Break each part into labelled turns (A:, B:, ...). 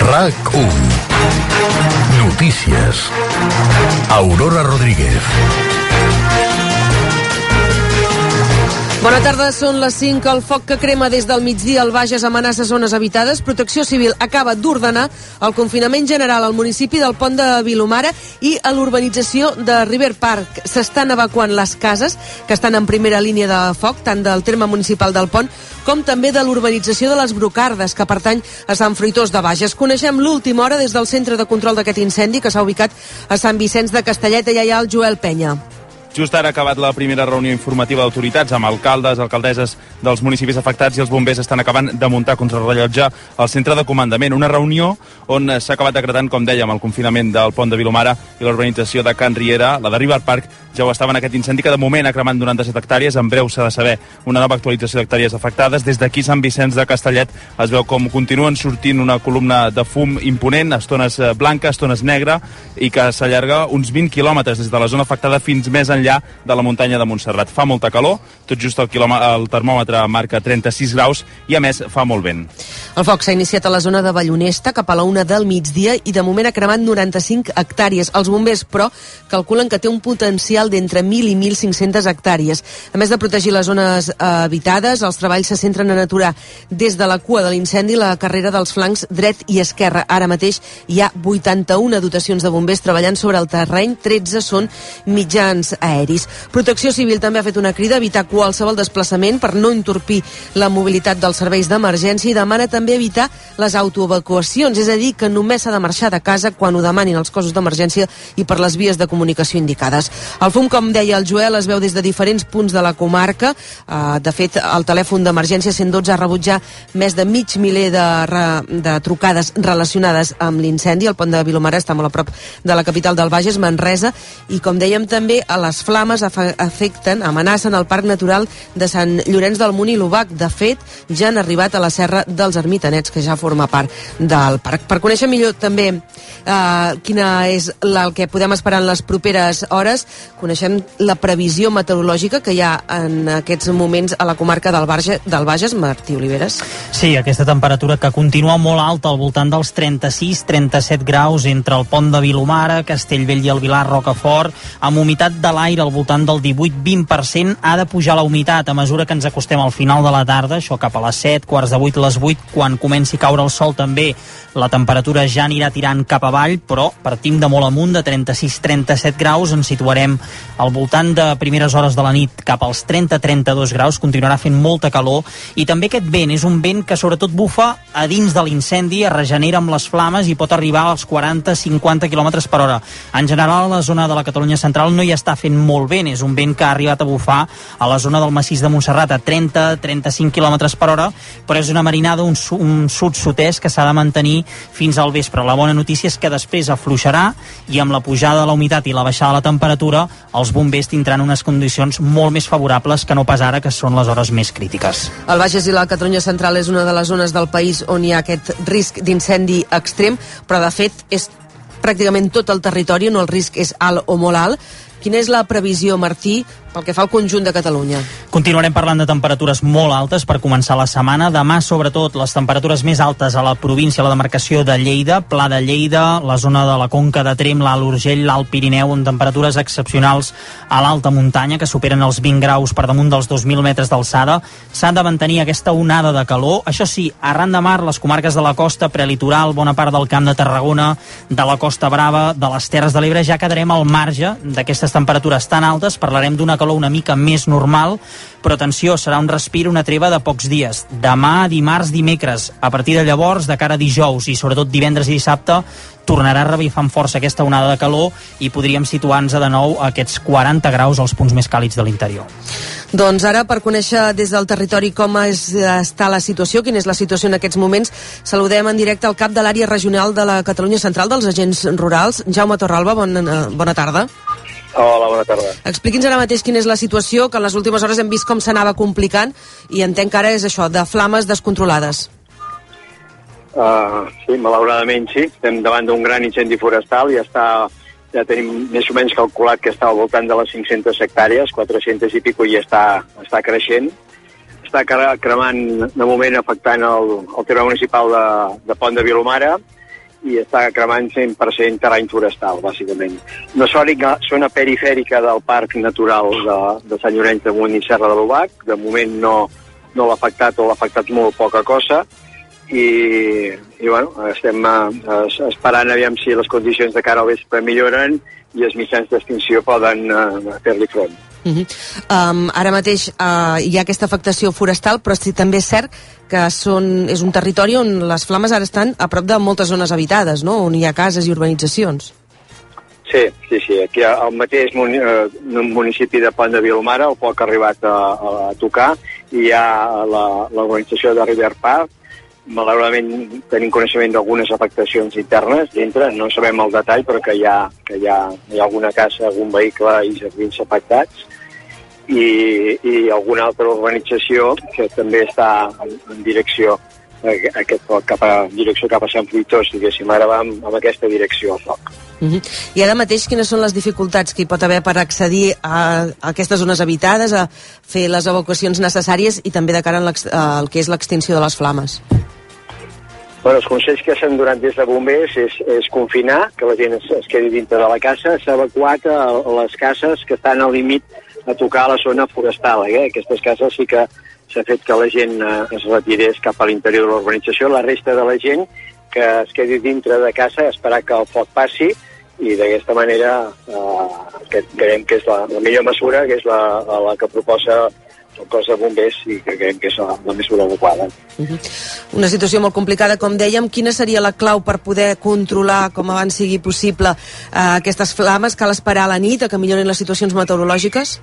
A: HAC1. Notícies. Aurora Rodríguez.
B: Bona tarda, són les 5. El foc que crema des del migdia al Bages amenaça zones habitades. Protecció Civil acaba d'ordenar el confinament general al municipi del Pont de Vilomara i a l'urbanització de River Park. S'estan evacuant les cases que estan en primera línia de foc, tant del terme municipal del Pont com també de l'urbanització de les Brocardes, que pertany a Sant Fruitós de Bages. Coneixem l'última hora des del centre de control d'aquest incendi que s'ha ubicat a Sant Vicenç de Castelleta i allà el Joel Penya.
C: Just ara ha acabat la primera reunió informativa d'autoritats amb alcaldes, alcaldesses dels municipis afectats i els bombers estan acabant de muntar contra el rellotge al centre de comandament. Una reunió on s'ha acabat decretant, com dèiem, el confinament del pont de Vilomara i l'urbanització de Can Riera, la de River Park, ja ho estava en aquest incendi que de moment ha cremat 97 hectàrees. En breu s'ha de saber una nova actualització d'hectàrees afectades. Des d'aquí Sant Vicenç de Castellet es veu com continuen sortint una columna de fum imponent, estones eh, blanca, estones negra, i que s'allarga uns 20 quilòmetres des de la zona afectada fins més enllà de la muntanya de Montserrat. Fa molta calor, tot just el, quilòme- el termòmetre marca 36 graus i a més fa molt vent.
B: El foc s'ha iniciat a la zona de Ballonesta cap a la una del migdia i de moment ha cremat 95 hectàrees. Els bombers, però, calculen que té un potencial d'entre 1.000 i 1.500 hectàrees. A més de protegir les zones eh, habitades, els treballs se centren en aturar des de la cua de l'incendi la carrera dels flancs dret i esquerra. Ara mateix hi ha 81 dotacions de bombers treballant sobre el terreny, 13 són mitjans aeris. Protecció Civil també ha fet una crida a evitar qualsevol desplaçament per no entorpir la mobilitat dels serveis d'emergència i demana també evitar les autoevacuacions, és a dir, que només s'ha de marxar de casa quan ho demanin els cossos d'emergència i per les vies de comunicació indicades. El fum, com deia el Joel, es veu des de diferents punts de la comarca. Eh, De fet, el telèfon d'emergència 112 ha rebut ja més de mig miler de, re- de trucades relacionades amb l'incendi. El pont de Vilomara està molt a prop de la capital del Bages, Manresa, i com dèiem també, a les flames afe- afecten, amenacen el Parc Natural de Sant Llorenç del Munt i l'Ubac. De fet, ja han arribat a la Serra dels Ermitanets, que ja forma part del parc. Per conèixer millor també eh, quina és la, el que podem esperar en les properes hores, coneixem la previsió meteorològica que hi ha en aquests moments a la comarca del, Barge, del Bages, Martí Oliveres.
D: Sí, aquesta temperatura que continua molt alta al voltant dels 36-37 graus entre el pont de Vilomara, Castellvell i el Vilar Rocafort, amb humitat de l'aire al voltant del 18-20%, ha de pujar la humitat a mesura que ens acostem al final de la tarda, això cap a les 7, quarts de 8, les 8, quan comenci a caure el sol també la temperatura ja anirà tirant cap avall, però partim de molt amunt, de 36-37 graus, ens situarem al voltant de primeres hores de la nit cap als 30-32 graus, continuarà fent molta calor, i també aquest vent és un vent que sobretot bufa a dins de l'incendi, es regenera amb les flames i pot arribar als 40-50 km per hora. En general, a la zona de la Catalunya central no hi està fent molt vent, és un vent que ha arribat a bufar a la zona del massís de Montserrat a 30-35 km per hora, però és una marinada, un, su- un sud-sud-est que s'ha de mantenir fins al vespre. La bona notícia és que després afluixarà i amb la pujada de la humitat i la baixada de la temperatura, els bombers tindran unes condicions molt més favorables que no pas ara, que són les hores més crítiques.
B: El Bages i la Catalunya Central és una de les zones del país on hi ha aquest risc d'incendi extrem, però de fet és pràcticament tot el territori on el risc és alt o molt alt. Quina és la previsió, Martí, pel que fa al conjunt de Catalunya?
D: Continuarem parlant de temperatures molt altes per començar la setmana. Demà, sobretot, les temperatures més altes a la província, a la demarcació de Lleida, Pla de Lleida, la zona de la Conca de Trem, l'Alt Urgell, l'Alt Pirineu, amb temperatures excepcionals a l'alta muntanya, que superen els 20 graus per damunt dels 2.000 metres d'alçada. S'ha de mantenir aquesta onada de calor. Això sí, arran de mar, les comarques de la costa prelitoral, bona part del Camp de Tarragona, de la Costa Brava, de les Terres de l'Ebre, ja quedarem al marge d'aquestes temperatures tan altes. Parlarem d'una calor una mica més normal, però atenció, serà un respir, una treva de pocs dies. Demà, dimarts, dimecres, a partir de llavors, de cara a dijous i sobretot divendres i dissabte, tornarà a revifar amb força aquesta onada de calor i podríem situar-nos de nou a aquests 40 graus als punts més càlids de l'interior.
B: Doncs ara, per conèixer des del territori com és, està la situació, quina és la situació en aquests moments, saludem en directe al cap de l'àrea regional de la Catalunya Central dels agents rurals, Jaume Torralba, bona, bona tarda.
E: Hola, bona tarda.
B: Expliqui'ns ara mateix quina és la situació, que en les últimes hores hem vist com s'anava complicant i entenc que ara és això, de flames descontrolades.
E: Uh, sí, malauradament sí. Estem davant d'un gran incendi forestal i està, ja tenim més o menys calculat que està al voltant de les 500 hectàrees, 400 i pico, i està, està creixent. Està cre- cremant, de moment, afectant el, el terme municipal de, de Pont de Vilomara i està cremant 100% terreny forestal, bàsicament. Una sòrica, zona perifèrica del Parc Natural de, de Sant Llorenç de Munt i Serra de l'Ubac, de moment no, no l'ha afectat o l'ha afectat molt poca cosa, i, i bueno, estem eh, esperant aviam si les condicions de cara al vespre milloren i els mitjans d'extinció poden eh, fer-li front.
B: Uh -huh. um, ara mateix uh, hi ha aquesta afectació forestal, però sí, també és cert que són, és un territori on les flames ara estan a prop de moltes zones habitades, no? on hi ha cases i urbanitzacions.
E: Sí, sí, sí. Aquí al mateix muni eh, municipi de Pont de Vilomara, el poc arribat a, a tocar, hi ha la, la urbanització de River Park, malauradament tenim coneixement d'algunes afectacions internes dintre, no sabem el detall, però que hi ha, que hi ha, hi ha alguna casa, algun vehicle i jardins afectats, i, i alguna altra urbanització que també està en, en direcció eh, aquest foc cap a direcció cap a Sant Fruitós, diguéssim, ara va amb, amb aquesta direcció al foc.
B: Uh -huh. I ara mateix quines són les dificultats que hi pot haver per accedir a, a aquestes zones habitades, a fer les evacuacions necessàries i també de cara al que és l'extinció de les flames?
E: Bueno, els consells que s'han donat des de bombers és, és confinar, que la gent es, es quedi dintre de la casa, s'ha evacuat a, a les cases que estan al límit a tocar a la zona forestal. Eh? Aquestes cases sí que s'ha fet que la gent eh, es retirés cap a l'interior de l'urbanització, la resta de la gent que es quedi dintre de casa a esperar que el foc passi i d'aquesta manera eh, que creiem que és la, la millor mesura, que és la, la que proposa el cos de bombers i que creiem que és la, la mesura adequada.
B: Uh -huh. Una situació molt complicada, com dèiem. Quina seria la clau per poder controlar, com abans sigui possible, eh, aquestes flames? Cal esperar a la nit a que millorin les situacions meteorològiques?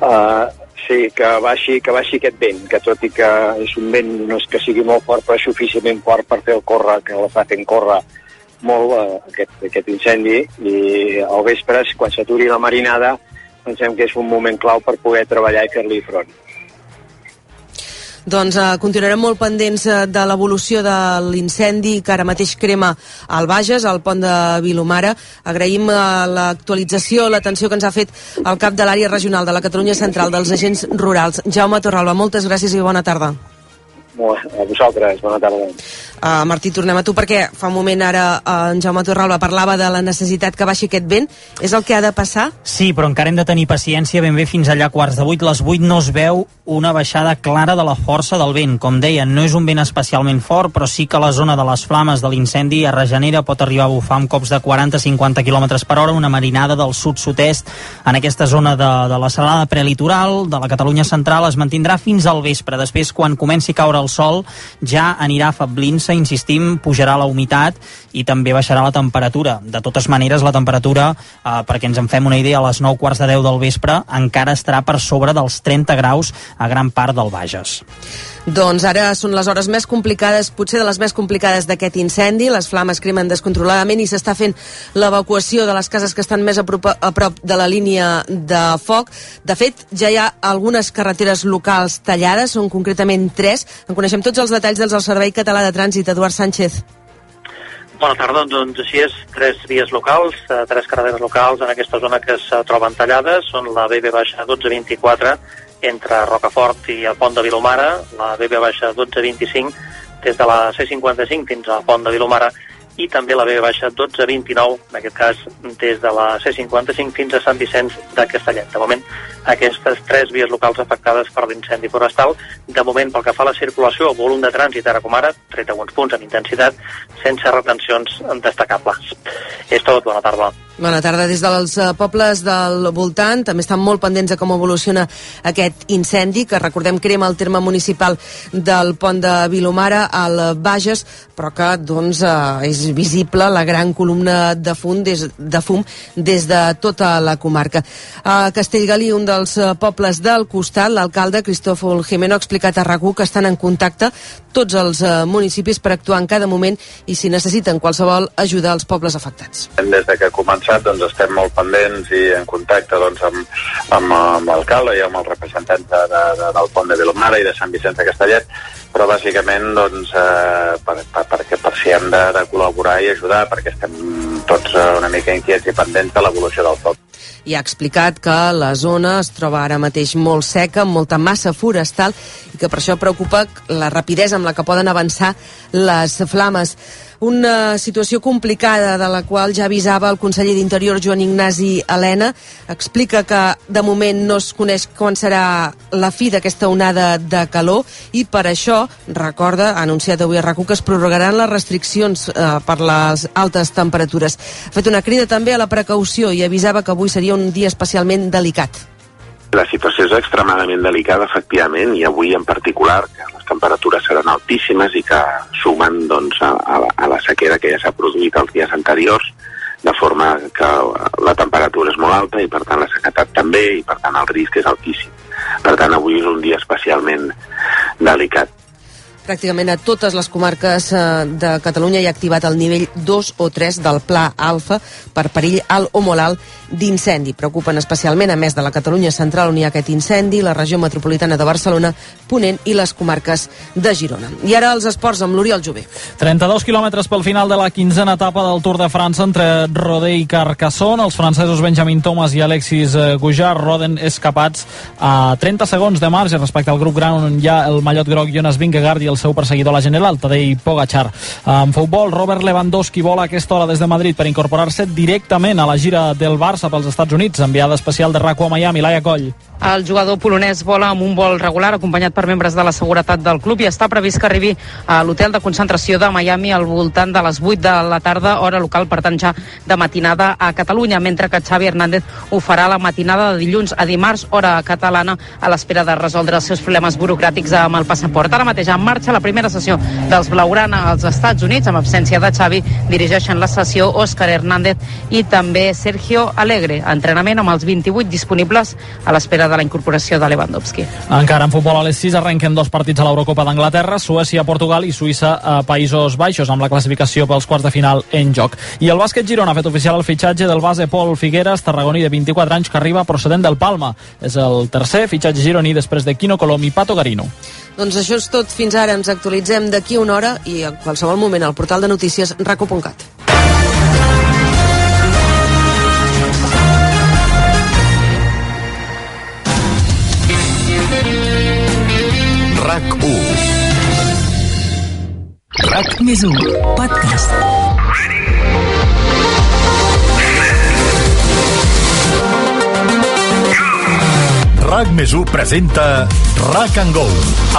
E: Uh, Sí, que baixi, que baixi aquest vent, que tot i que és un vent no és que sigui molt fort, però és suficientment fort per fer el córrer, que la fa fent córrer molt eh, aquest, aquest incendi, i al vespre, quan s'aturi la marinada, pensem que és un moment clau per poder treballar i fer-li front.
B: Doncs eh, continuarem molt pendents eh, de l'evolució de l'incendi que ara mateix crema al Bages, al pont de Vilomara. Agraïm eh, l'actualització, l'atenció que ens ha fet el cap de l'àrea regional de la Catalunya Central dels agents rurals. Jaume Torralba, moltes gràcies i bona tarda.
E: A vosaltres, bona tarda.
B: Uh, Martí, tornem a tu perquè fa un moment ara uh, en Jaume Torralba parlava de la necessitat que baixi aquest vent. És el que ha de passar?
D: Sí, però encara hem de tenir paciència ben bé fins allà quarts de vuit. Les vuit no es veu una baixada clara de la força del vent. Com deien, no és un vent especialment fort, però sí que la zona de les flames de l'incendi a Regenera pot arribar a bufar amb cops de 40-50 km per hora, una marinada del sud-sud-est en aquesta zona de, de la serrada prelitoral de la Catalunya central es mantindrà fins al vespre. Després, quan comenci a caure el sol ja anirà afablint-se, insistim, pujarà la humitat i també baixarà la temperatura. De totes maneres, la temperatura, eh, perquè ens en fem una idea, a les 9 quarts de 10 del vespre encara estarà per sobre dels 30 graus a gran part del Bages.
B: Doncs ara són les hores més complicades, potser de les més complicades d'aquest incendi. Les flames cremen descontroladament i s'està fent l'evacuació de les cases que estan més a prop, a prop de la línia de foc. De fet, ja hi ha algunes carreteres locals tallades, són concretament tres, en coneixem tots els detalls dels del Servei Català de Trànsit. Eduard Sánchez.
F: Bona tarda, doncs així és, tres vies locals, eh, tres carreteres locals en aquesta zona que es eh, troben tallades, són la BB baixa 1224 entre Rocafort i el pont de Vilomara, la BB baixa 1225 des de la C55 fins al pont de Vilomara i també la BB baixa 1229, en aquest cas des de la C55 fins a Sant Vicenç de Castellet. De moment, aquestes tres vies locals afectades per l'incendi forestal, de moment pel que fa a la circulació, el volum de trànsit ara com ara, tret alguns punts en intensitat, sense retencions destacables. És tot, bona tarda.
B: Bona tarda. Des dels eh, pobles del voltant també estan molt pendents de com evoluciona aquest incendi, que recordem crema el terme municipal del pont de Vilomara al Bages, però que doncs, és visible la gran columna de fum des de, fum des de tota la comarca. A Castellgalí, un dels eh, pobles del costat, l'alcalde Cristòfol Jimeno ha explicat a RAC1 que estan en contacte tots els eh, municipis per actuar en cada moment i si necessiten qualsevol ajuda als pobles afectats.
G: Des de que comença començat doncs, estem molt pendents i en contacte doncs, amb, amb, amb l'alcalde i amb els representants de, de, de, del pont de Vilomara i de Sant Vicenç de Castellet, però bàsicament doncs, eh, per, per, perquè per si hem de, de col·laborar i ajudar, perquè estem tots eh, una mica inquiets i pendents de l'evolució del foc.
B: I ha explicat que la zona es troba ara mateix molt seca, amb molta massa forestal, i que per això preocupa la rapidesa amb la que poden avançar les flames. Una situació complicada de la qual ja avisava el conseller d'Interior Joan Ignasi Helena. Explica que de moment no es coneix quan serà la fi d'aquesta onada de calor i per això, recorda, ha anunciat avui a RACU que es prorrogaran les restriccions eh, per les altes temperatures. Ha fet una crida també a la precaució i avisava que avui seria un dia especialment delicat.
H: La situació és extremadament delicada, efectivament, i avui en particular, que les temperatures seran altíssimes i que sumen doncs, a, a, la, a la sequera que ja s'ha produït els dies anteriors, de forma que la temperatura és molt alta i, per tant, la sequetat també, i, per tant, el risc és altíssim. Per tant, avui és un dia especialment delicat.
B: Pràcticament a totes les comarques eh, de Catalunya hi ha activat el nivell 2 o 3 del Pla Alfa per perill alt o molt alt d'incendi. Preocupen especialment, a més de la Catalunya central on hi ha aquest incendi, la regió metropolitana de Barcelona, Ponent i les comarques de Girona. I ara els esports amb l'Oriol Jové.
I: 32 quilòmetres pel final de la quinzena etapa del Tour de França entre Rodé i Carcassonne. Els francesos Benjamin Thomas i Alexis eh, Goujard roden escapats a 30 segons de marge respecte al grup gran on hi ha el mallot groc Jonas Vingegaard i el seu perseguidor, la general, Tadej Pogacar. En futbol, Robert Lewandowski vola a aquesta hora des de Madrid per incorporar-se directament a la gira del Barça pels Estats Units, enviada especial de RACO a Miami, Laia Coll.
J: El jugador polonès vola amb un vol regular acompanyat per membres de la seguretat del club i està previst que arribi a l'hotel de concentració de Miami al voltant de les 8 de la tarda, hora local, per tant ja de matinada a Catalunya, mentre que Xavi Hernández ho farà la matinada de dilluns a dimarts, hora catalana, a l'espera de resoldre els seus problemes burocràtics amb el passaport. Ara mateix en marxa la primera sessió dels Blaugrana als Estats Units, amb absència de Xavi, dirigeixen la sessió Òscar Hernández i també Sergio Alegre. Entrenament amb els 28 disponibles a l'espera de la incorporació de Lewandowski.
I: Encara en futbol a les 6 arrenquen dos partits a l'Eurocopa d'Anglaterra, Suècia, Portugal i Suïssa a Països Baixos, amb la classificació pels quarts de final en joc. I el bàsquet Girona ha fet oficial el fitxatge del base Pol Figueres, tarragoní de 24 anys, que arriba procedent del Palma. És el tercer fitxatge gironí després de Quino Colom i Pato Garino.
B: Doncs això és tot fins ara. Ens actualitzem d'aquí una hora i en qualsevol moment al portal de notícies raco.cat.
A: RAC 1 RAC més 1 Podcast RAC més 1 presenta RAC and Go,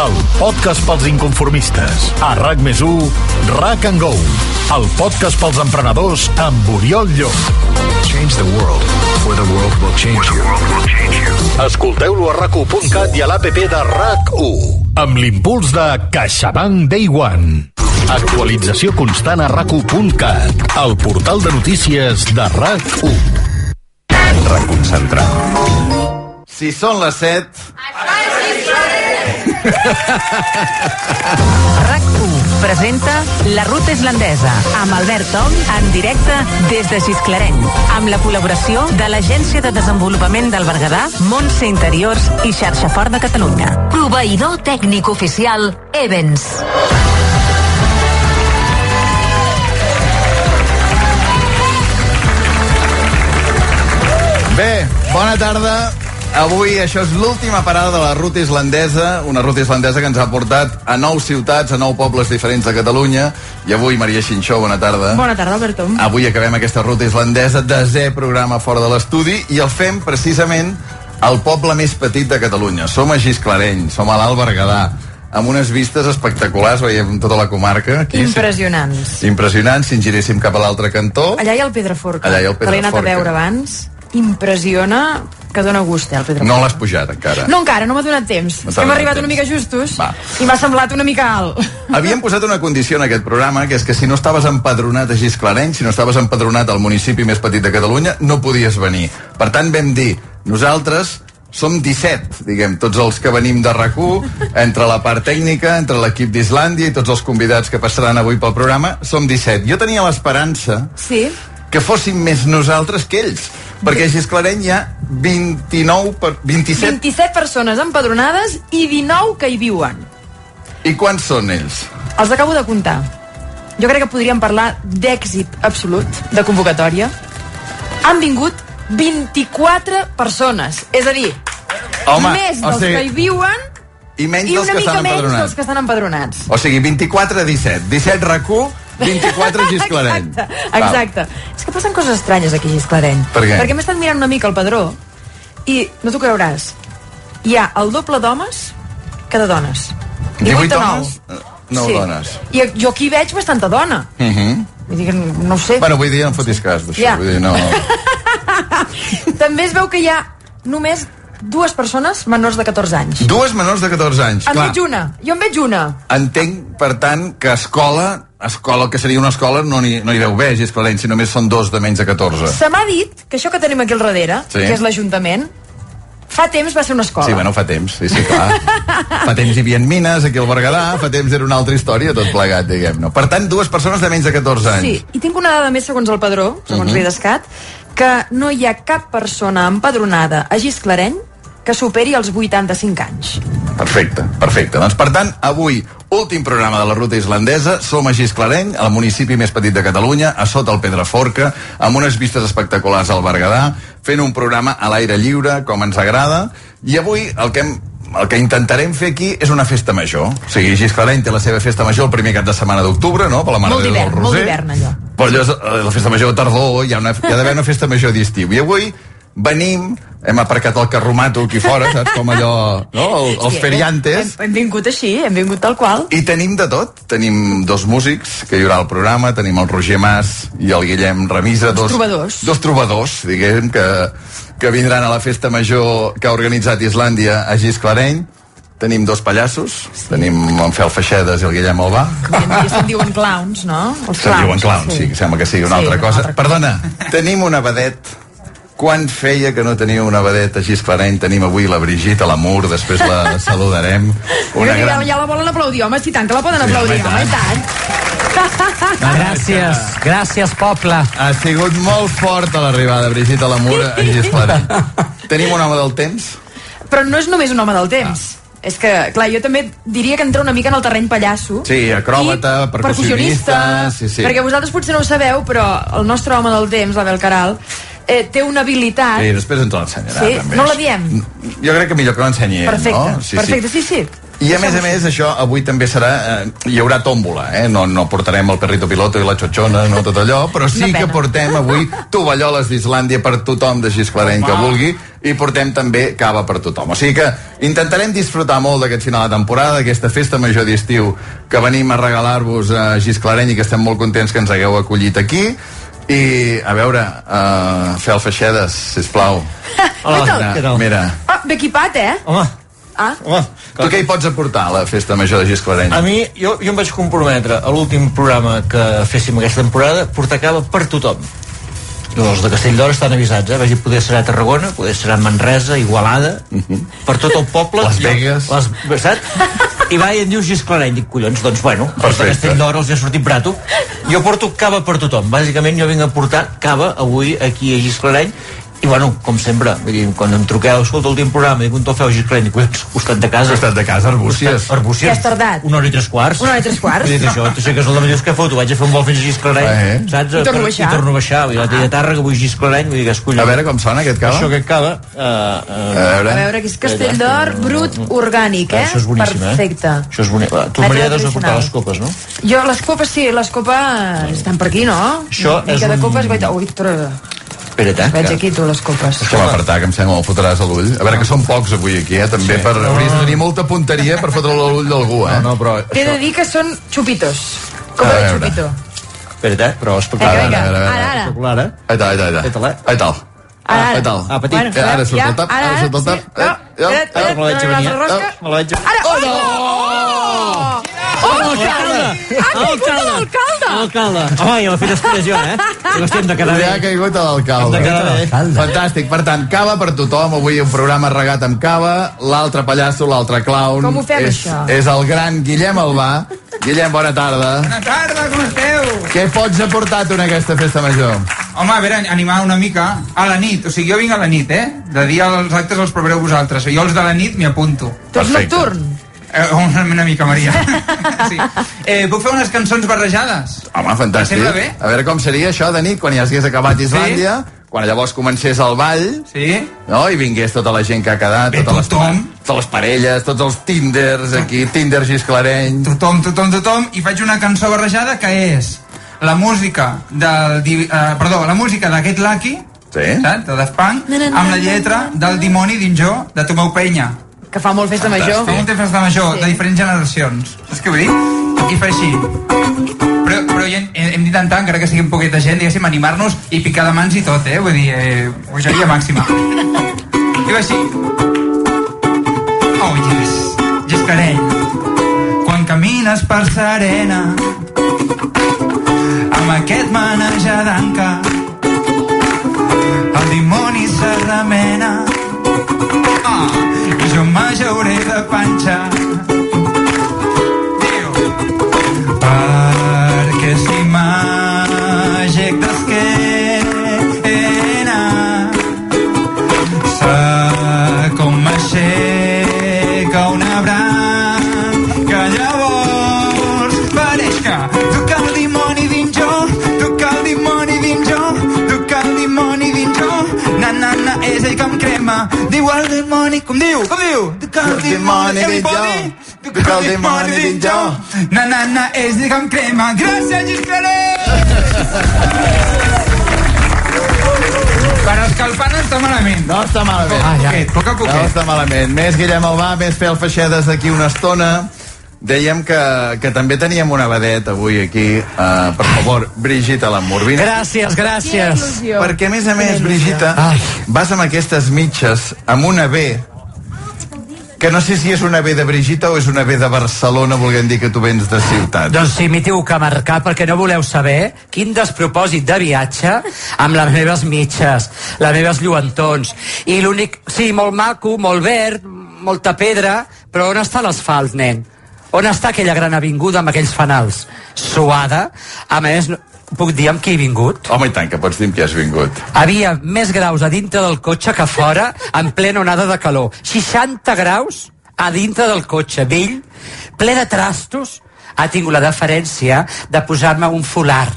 A: el podcast pels inconformistes. A RAC més 1, RAC and Go, el podcast pels emprenedors amb Oriol Llop. Change the world, for the world will change you. Escolteu-lo a rac1.cat i a l'APP de RAC1. Amb l'impuls de CaixaBank Day One. Actualització constant a rac1.cat, el portal de notícies de RAC1. Reconcentrat.
K: Si són les 7...
L: RAC1 presenta La Ruta Islandesa amb Albert Tom en directe des de Gisclareny amb la col·laboració de l'Agència de Desenvolupament del Berguedà, Montse Interiors i Xarxa Fort de Catalunya.
M: Proveïdor tècnic oficial Evans.
K: Bé, bona tarda. Avui això és l'última parada de la ruta islandesa, una ruta islandesa que ens ha portat a nou ciutats, a nou pobles diferents de Catalunya. I avui, Maria Xinxó, bona tarda.
N: Bona tarda, Alberto.
K: Avui acabem aquesta ruta islandesa, desè programa fora de l'estudi, i el fem precisament al poble més petit de Catalunya. Som a Gisclareny, som a l'Alt Berguedà, amb unes vistes espectaculars, veiem tota la comarca.
N: Aquí, Impressionants.
K: Si, impressionants, si en giréssim cap a l'altre cantó...
N: Allà hi ha el Pedraforca,
K: Allà hi ha el Pedraforca.
N: que l'he anat a veure abans. Impressiona que dona gust, eh, el Pedraforca.
K: No l'has pujat encara.
N: No, encara, no m'ha donat temps.
K: No t'ha
N: Hem
K: donat
N: arribat
K: temps.
N: una mica justos
K: Va.
N: i m'ha semblat una mica alt.
K: Havíem posat una condició en aquest programa, que és que si no estaves empadronat a Gisclareny, si no estaves empadronat al municipi més petit de Catalunya, no podies venir. Per tant, vam dir, nosaltres som 17, diguem, tots els que venim de rac entre la part tècnica, entre l'equip d'Islàndia i tots els convidats que passaran avui pel programa, som 17. Jo tenia l'esperança
N: Sí,
K: que fossin més nosaltres que ells, perquè a Gisclareny hi ha 29 per... 27.
N: 27 persones empadronades i 19 que hi viuen.
K: I quants són ells?
N: Els acabo de comptar. Jo crec que podríem parlar d'èxit absolut, de convocatòria. Han vingut 24 persones, és a dir,
K: Home,
N: més
K: o
N: dels
K: sigui,
N: que hi viuen
K: I menys
N: i
K: dels
N: una
K: que
N: mica
K: estan
N: menys
K: empadronats.
N: dels que estan empadronats.
K: O sigui, 24 a 17. 17 RAC1 24 Gisclareny.
N: Exacte, exacte. És que passen coses estranyes aquí a Gisclareny.
K: Per què?
N: Perquè m'he estat mirant una mica el padró i no t'ho creuràs. Hi ha el doble d'homes que de dones.
K: 18
N: a nou.
K: homes, 9
N: Sí.
K: dones.
N: I jo aquí veig bastanta dona.
K: Uh -huh.
N: Vull dir que no ho sé.
K: Bueno, vull dir, no em fotis cas d'això.
N: Ja.
K: Vull dir, no...
N: També es veu que hi ha només dues persones menors de 14 anys.
K: Dues menors de 14 anys,
N: En
K: clar.
N: veig una. Jo en veig una.
K: Entenc, per tant, que escola, escola que seria una escola, no n'hi no hi deu haver, Gisclareny, si només són dos de menys de 14.
N: Se m'ha dit que això que tenim aquí al darrere,
K: Sí.
N: que és l'Ajuntament, fa temps va ser una escola.
K: Sí, bueno, fa temps, sí, sí, clar. fa temps hi havia mines aquí al Berguedà, fa temps era una altra història, tot plegat, diguem-ne. Per tant, dues persones de menys de 14 anys.
N: Sí, i tinc una dada més segons el padró, segons
K: Mhm.
N: uh -huh. l'IDESCAT, que no hi ha cap persona empadronada a Gisclareny que superi els 85 anys.
K: Perfecte, perfecte. Doncs, per tant, avui, últim programa de la ruta islandesa. Som a Gisclareny, el municipi més petit de Catalunya, a sota el Pedraforca, amb unes vistes espectaculars al Berguedà, fent un programa a l'aire lliure, com ens agrada. I avui el que hem el que intentarem fer aquí és una festa major. O sigui, Gisclareny té la seva festa major el primer cap de setmana d'octubre, no?, per la Mare
N: molt
K: de Déu del
N: d'hivern,
K: Roser.
N: molt d'hivern, allò.
K: Però allò és eh, la festa major de tardor, hi ha, una, hi ha d'haver una festa major d'estiu. I avui venim, hem aparcat el carromato aquí fora, saps com allò, no? El, els
N: Sí,
K: feriantes.
N: Hem, hem vingut així, hem vingut tal qual.
K: I tenim de tot. Tenim dos músics que hi haurà al programa, tenim el Roger Mas i el Guillem Remisa. Dos,
N: trobadors.
K: Dos trobadors, diguem, que, que vindran a la festa major que ha organitzat Islàndia a Gisclareny. Tenim dos pallassos, sí. tenim en Fel Feixedes i el Guillem Albà.
N: I se'n diuen clowns, no? Els
K: Se'n diuen clowns, sí. sí, sembla que sigui una
N: Sí,
K: altra
N: una
K: cosa.
N: altra cosa.
K: Perdona, tenim una vedet quan feia que no tenia una vedeta a Gisclareny? Tenim avui la Brigitte, l'amor, després la saludarem.
N: Una
K: Una gran...
N: Ja la volen aplaudir, home, si tant que la poden
K: Sí,
N: aplaudir,
K: home,
N: home, i
K: i
N: tant.
K: Gràcies,
O: gràcies, poble.
K: Ha sigut molt forta l'arribada, Brigitte l'amor a Gisclareny. Tenim un home del temps?
N: Però no és només un home del temps.
K: Ah.
N: És que, clar, jo també diria que entra una mica en el terreny pallasso.
K: Sí, acròbata, percussionista... Sí, sí.
N: Perquè vosaltres potser no ho sabeu, però el nostre home del temps, l'Abel Caral, eh, té una habilitat...
K: Sí, després ens l'ensenyarà,
N: Sí,
K: també.
N: no la diem?
K: Jo crec que millor que l'ensenyi ell,
N: Perfecte,
K: no?
N: perfecte, sí, sí.
K: I a més a més, això avui també serà... Eh, hi haurà tòmbola, eh? No, no portarem el perrito piloto i la xotxona, no tot allò, però sí
N: Una pena.
K: que portem avui tovalloles d'Islàndia per tothom de Gisclareny que vulgui i portem també cava per tothom. O sigui que intentarem disfrutar molt d'aquest final de temporada, d'aquesta festa major d'estiu que venim a regalar-vos a Gisclareny i que estem molt contents que ens hagueu acollit aquí. I, a veure, uh, Fel Feixedes, sisplau.
N: Hola, què
K: mira,
N: tal?
K: mira.
N: Ah, ben equipat, eh?
O: Home,
N: Ah,
O: home.
K: Tu què hi pots aportar a la festa major de Gisclareny?
O: A mi, jo, jo em vaig comprometre a l'últim programa que féssim aquesta temporada, portar cava per tothom. Llavors, de Castell d'Or estan avisats, eh? Vagi, poder serà a Tarragona, poder serà a Manresa, Igualada, per tot el poble.
K: Les Mhm. Vegas.
O: Les, saps? I va i em dius Gisclareny, dic, collons, doncs bueno, els de Castell d'Or els hi ha sortit brato. Jo porto cava per tothom. Bàsicament jo vinc a portar cava avui aquí a Gisclareny, i bueno, com sempre, vull dir, quan em truqueu, escolta, l'últim programa, dic, un tofeu Gisclareny, dic, collons, costat de casa.
K: Costat de casa, Arbúcies.
O: Arbúcies.
N: Ja has tardat.
O: Una hora i tres quarts.
N: Una hora i tres quarts.
O: Vull dir, això, t'aixeques al matí, què foto? Vaig a fer un vol fins a Gisclareny,
K: Eh.
O: saps?
N: I torno a
O: Per-
N: baixar.
O: I torno a baixar. Vull dir, l'altre dia a Tàrrega, vull a Gisclareny, vull dir que escollo.
K: A veure com sona aquest cava.
O: Això que cava... Uh,
K: veure.
N: A veure, aquí és Castell d'Or, brut, orgànic, eh?
O: Això és boníssim,
N: Perfecte.
O: eh? Això és bonic. Va, Tu,
N: Mètode
O: Maria, deus de
N: tradicional.
O: portar les copes, no?
N: Jo, les copes, sí, les copes estan per aquí, no?
O: Això
N: Una
O: és
N: mica de
O: un-
N: copes, guaita... Ui, tro-
O: Espera't, eh?
N: veig aquí, tu, les copes.
K: Que va apartar, que em sembla el fotràs a l'ull. A veure, que són pocs avui aquí, eh? També per... Hauries de tenir molta punteria per fotre a l'ull d'algú, eh? No, no,
O: però...
N: T'he de dir que són xupitos. Copa
K: A
N: de
K: veure.
N: xupito.
O: Espera't, eh? Però espectacular.
N: Vinga, vinga,
K: a veure, a veure.
N: ara, ara.
O: Espectacular, eh?
K: Ai, tal, ai, tal, ai, tal. Ai, tal.
N: Ara, ara.
K: Ai, tal.
O: Ah, petit.
K: Eh, Ara surt el tap,
N: Ja, ara,
K: ara surt el
N: sí.
K: tap. Eh,
N: No,
K: ja.
N: espera't, espera't,
O: Me la vaig
N: no,
O: venir, eh?
N: no, no, rosca.
O: Me la vaig...
N: Ara, oh, no! Oh, alcalde! Ha caigut a l'alcalde!
O: Alcalde. Home, ja m'ha fet escollir jo, eh? Jo estic de cada
K: Li
O: bé.
K: ha caigut a l'alcalde.
O: Hem de quedar bé.
K: Fantàstic. Per tant, cava per tothom. Avui un programa regat amb cava. L'altre pallasso, l'altre clown.
N: Com ho fem,
K: és,
N: això?
K: És el gran Guillem Albà. Guillem, bona tarda.
P: Bona tarda, com esteu?
K: Què pots aportar tu en aquesta festa major?
P: Home, a veure, animar una mica. A la nit, o sigui, jo vinc a la nit, eh? De dia els actes els prepareu vosaltres. Jo els de la nit m'hi apunto.
N: Tu ets nocturn.
P: Eh, una, una mica, Maria. sí. Eh, puc fer unes cançons barrejades?
K: Home, fantàstic.
P: Em sembla bé.
K: A veure com seria això de nit, quan ja hagués acabat Islàndia, sí? quan llavors comencés el ball,
P: sí?
K: no? i vingués tota la gent que ha quedat, totes les, totes les parelles, tots els Tinders aquí, Tinder Gisclareny...
P: Tothom, tothom, tothom. I faig una cançó barrejada que és... la música del... di- Eh, perdó, la música d'aquest Lucky,
K: sí.
P: saps? De Daft Punk, amb la lletra del dimoni dins jo, de Tomeu Penya.
N: Que fa molt festa major.
P: Fa molta festa major,
N: Sí.
P: de diferents generacions. Saps què vull dir? I fa així. Però, però ja hem, hem d'intentar, encara que sigui un poquet de gent, diguéssim, animar-nos i picar de mans i tot, eh? Vull dir, eh, bogeria màxima. I va així. Oh, yes. Gescarell. Quan camines per serena amb aquest manejar d'anca el dimoni se remena ah, i jo m'ajauré de panxa Diu, perquè si màgic d'esquena sa com m'aixeca una branca llavors pareix que toca el dimoni dins jo toca el dimoni dins jo toca el dimoni dins jo na na na és ell que em crema diu el dimoni com diu com diu toca el dimoni dins jo toca el dimoni dins jo na na na és ell que em crema gràcies Giscaré Per escalpar no està malament.
K: No està malament.
P: Ah, ja. Poc a
K: No
P: poquet.
K: està malament. Més Guillem Albà, més fer el feixedes d'aquí una estona. Dèiem que, que també teníem una vedet avui aquí. Uh, per favor, Brigita Lamborghini.
Q: Gràcies, gràcies. Quina il·lusió.
K: Perquè, a més a més,
Q: Quina il·lusió.
K: Brigita, vas amb aquestes mitges, amb una B, que no sé si és una B de Brigita o és una B de Barcelona, volguem dir que tu vens de ciutat.
Q: Doncs sí, m'hi tinc que marcar perquè no voleu saber quin despropòsit de viatge amb les meves mitges, les meves lluentons. I l'únic... Sí, molt maco, molt verd, molta pedra, però on està l'asfalt, nen? On està aquella gran avinguda amb aquells fanals? Suada. A més, no- puc dir amb qui he vingut?
K: Home, i tant, que pots dir amb qui has vingut.
Q: Havia més graus a dintre del cotxe que a fora en plena onada de calor. 60 graus a dintre del cotxe, vell, ple de trastos, ha tingut la deferència de posar-me un folar,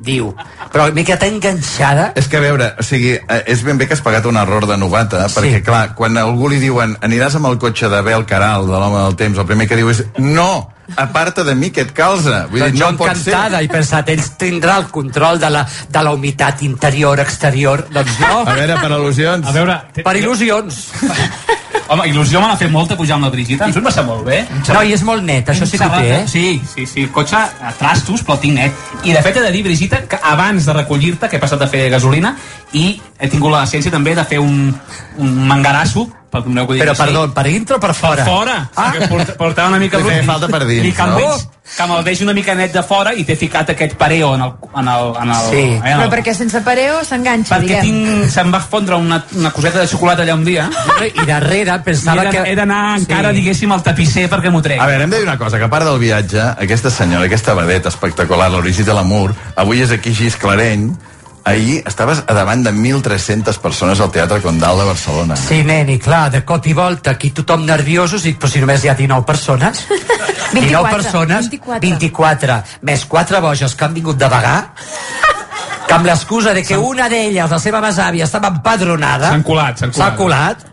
Q: diu. Però m'he quedat enganxada.
K: És que a veure, o sigui, eh, és ben bé que has pagat un error de novata, sí. perquè clar, quan a algú li diuen aniràs amb el cotxe d'Abel Caral, de l'home del temps, el primer que diu és no, aparta de mi que et calza. Vull dir,
Q: doncs
K: no
Q: jo
K: pot ser.
Q: encantada i pensat, ells tindrà el control de la, de la humitat interior, exterior, doncs no.
K: A veure, per al·lusions.
R: A veure,
Q: Per il·lusions.
R: Home, il·lusió me l'ha fet molta pujar amb la Brigita, ens ho hem passat molt bé.
Q: No, i és molt net, això sí que ho té, eh?
R: Sí, sí, sí, el cotxe a trastos, però el tinc net. I de fet he de dir, Brigita, que abans de recollir-te, que he passat a fer gasolina, i he tingut la ciència també de fer un, un mangarasso, pel que m'ho
Q: Però, perdó, per dintre o per fora?
R: Per fora. Ah. Portava una mica...
Q: Li feia falta per dins,
R: I que,
Q: no?
R: em veig, que me'l veig una mica net de fora i t'he ficat aquest pareo en el... En el, en el
Q: Sí.
R: eh, en
N: Però
R: el,
N: perquè sense pareo s'enganxa,
R: perquè
N: diguem.
R: tinc, se'm va fondre una, una coseta de xocolata allà un dia
Q: i darrere pensava
R: he de,
Q: que-
R: he d'anar encara
Q: Sí.
R: diguéssim al tapisser perquè m'ho trec
K: A veure, hem de dir una cosa, que a part del viatge, aquesta senyora, aquesta vedeta espectacular, la Brigitte Lamour, avui és aquí Gis Clareny, ahir estaves a davant de 1.300 persones al Teatre Condal de Barcelona.
Q: Sí, nen, i clar, de cop i volta aquí tothom nerviosos i però si només hi ha 19 persones 19 persones 24. 24 més 4 boges que han vingut de vagar que amb l'excusa de que una d'elles, la seva besàvia, estava empadronada
R: S'han colat, s'han colat.
Q: s'ha colat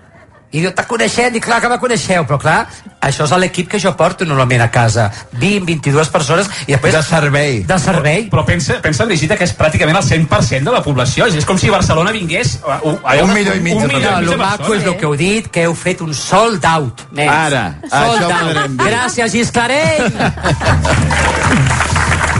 Q: i diu, t'ha coneixent, i clar que me coneixeu però clar, això és a l'equip que jo porto normalment a casa, 20, 22 persones i després...
K: De servei.
Q: De servei.
R: Però pensa, pensa Brigita, que és pràcticament el 100% de la població. És com si Barcelona vingués... Uh, uh, Un milió i mig
Q: El
R: de
Q: maco és
R: persones.
Q: el que heu dit, que heu fet un sold out, nens.
K: Ara,
Q: sold
K: això ho podrem
Q: out.
K: dir.
Q: Gràcies, Gisclarell.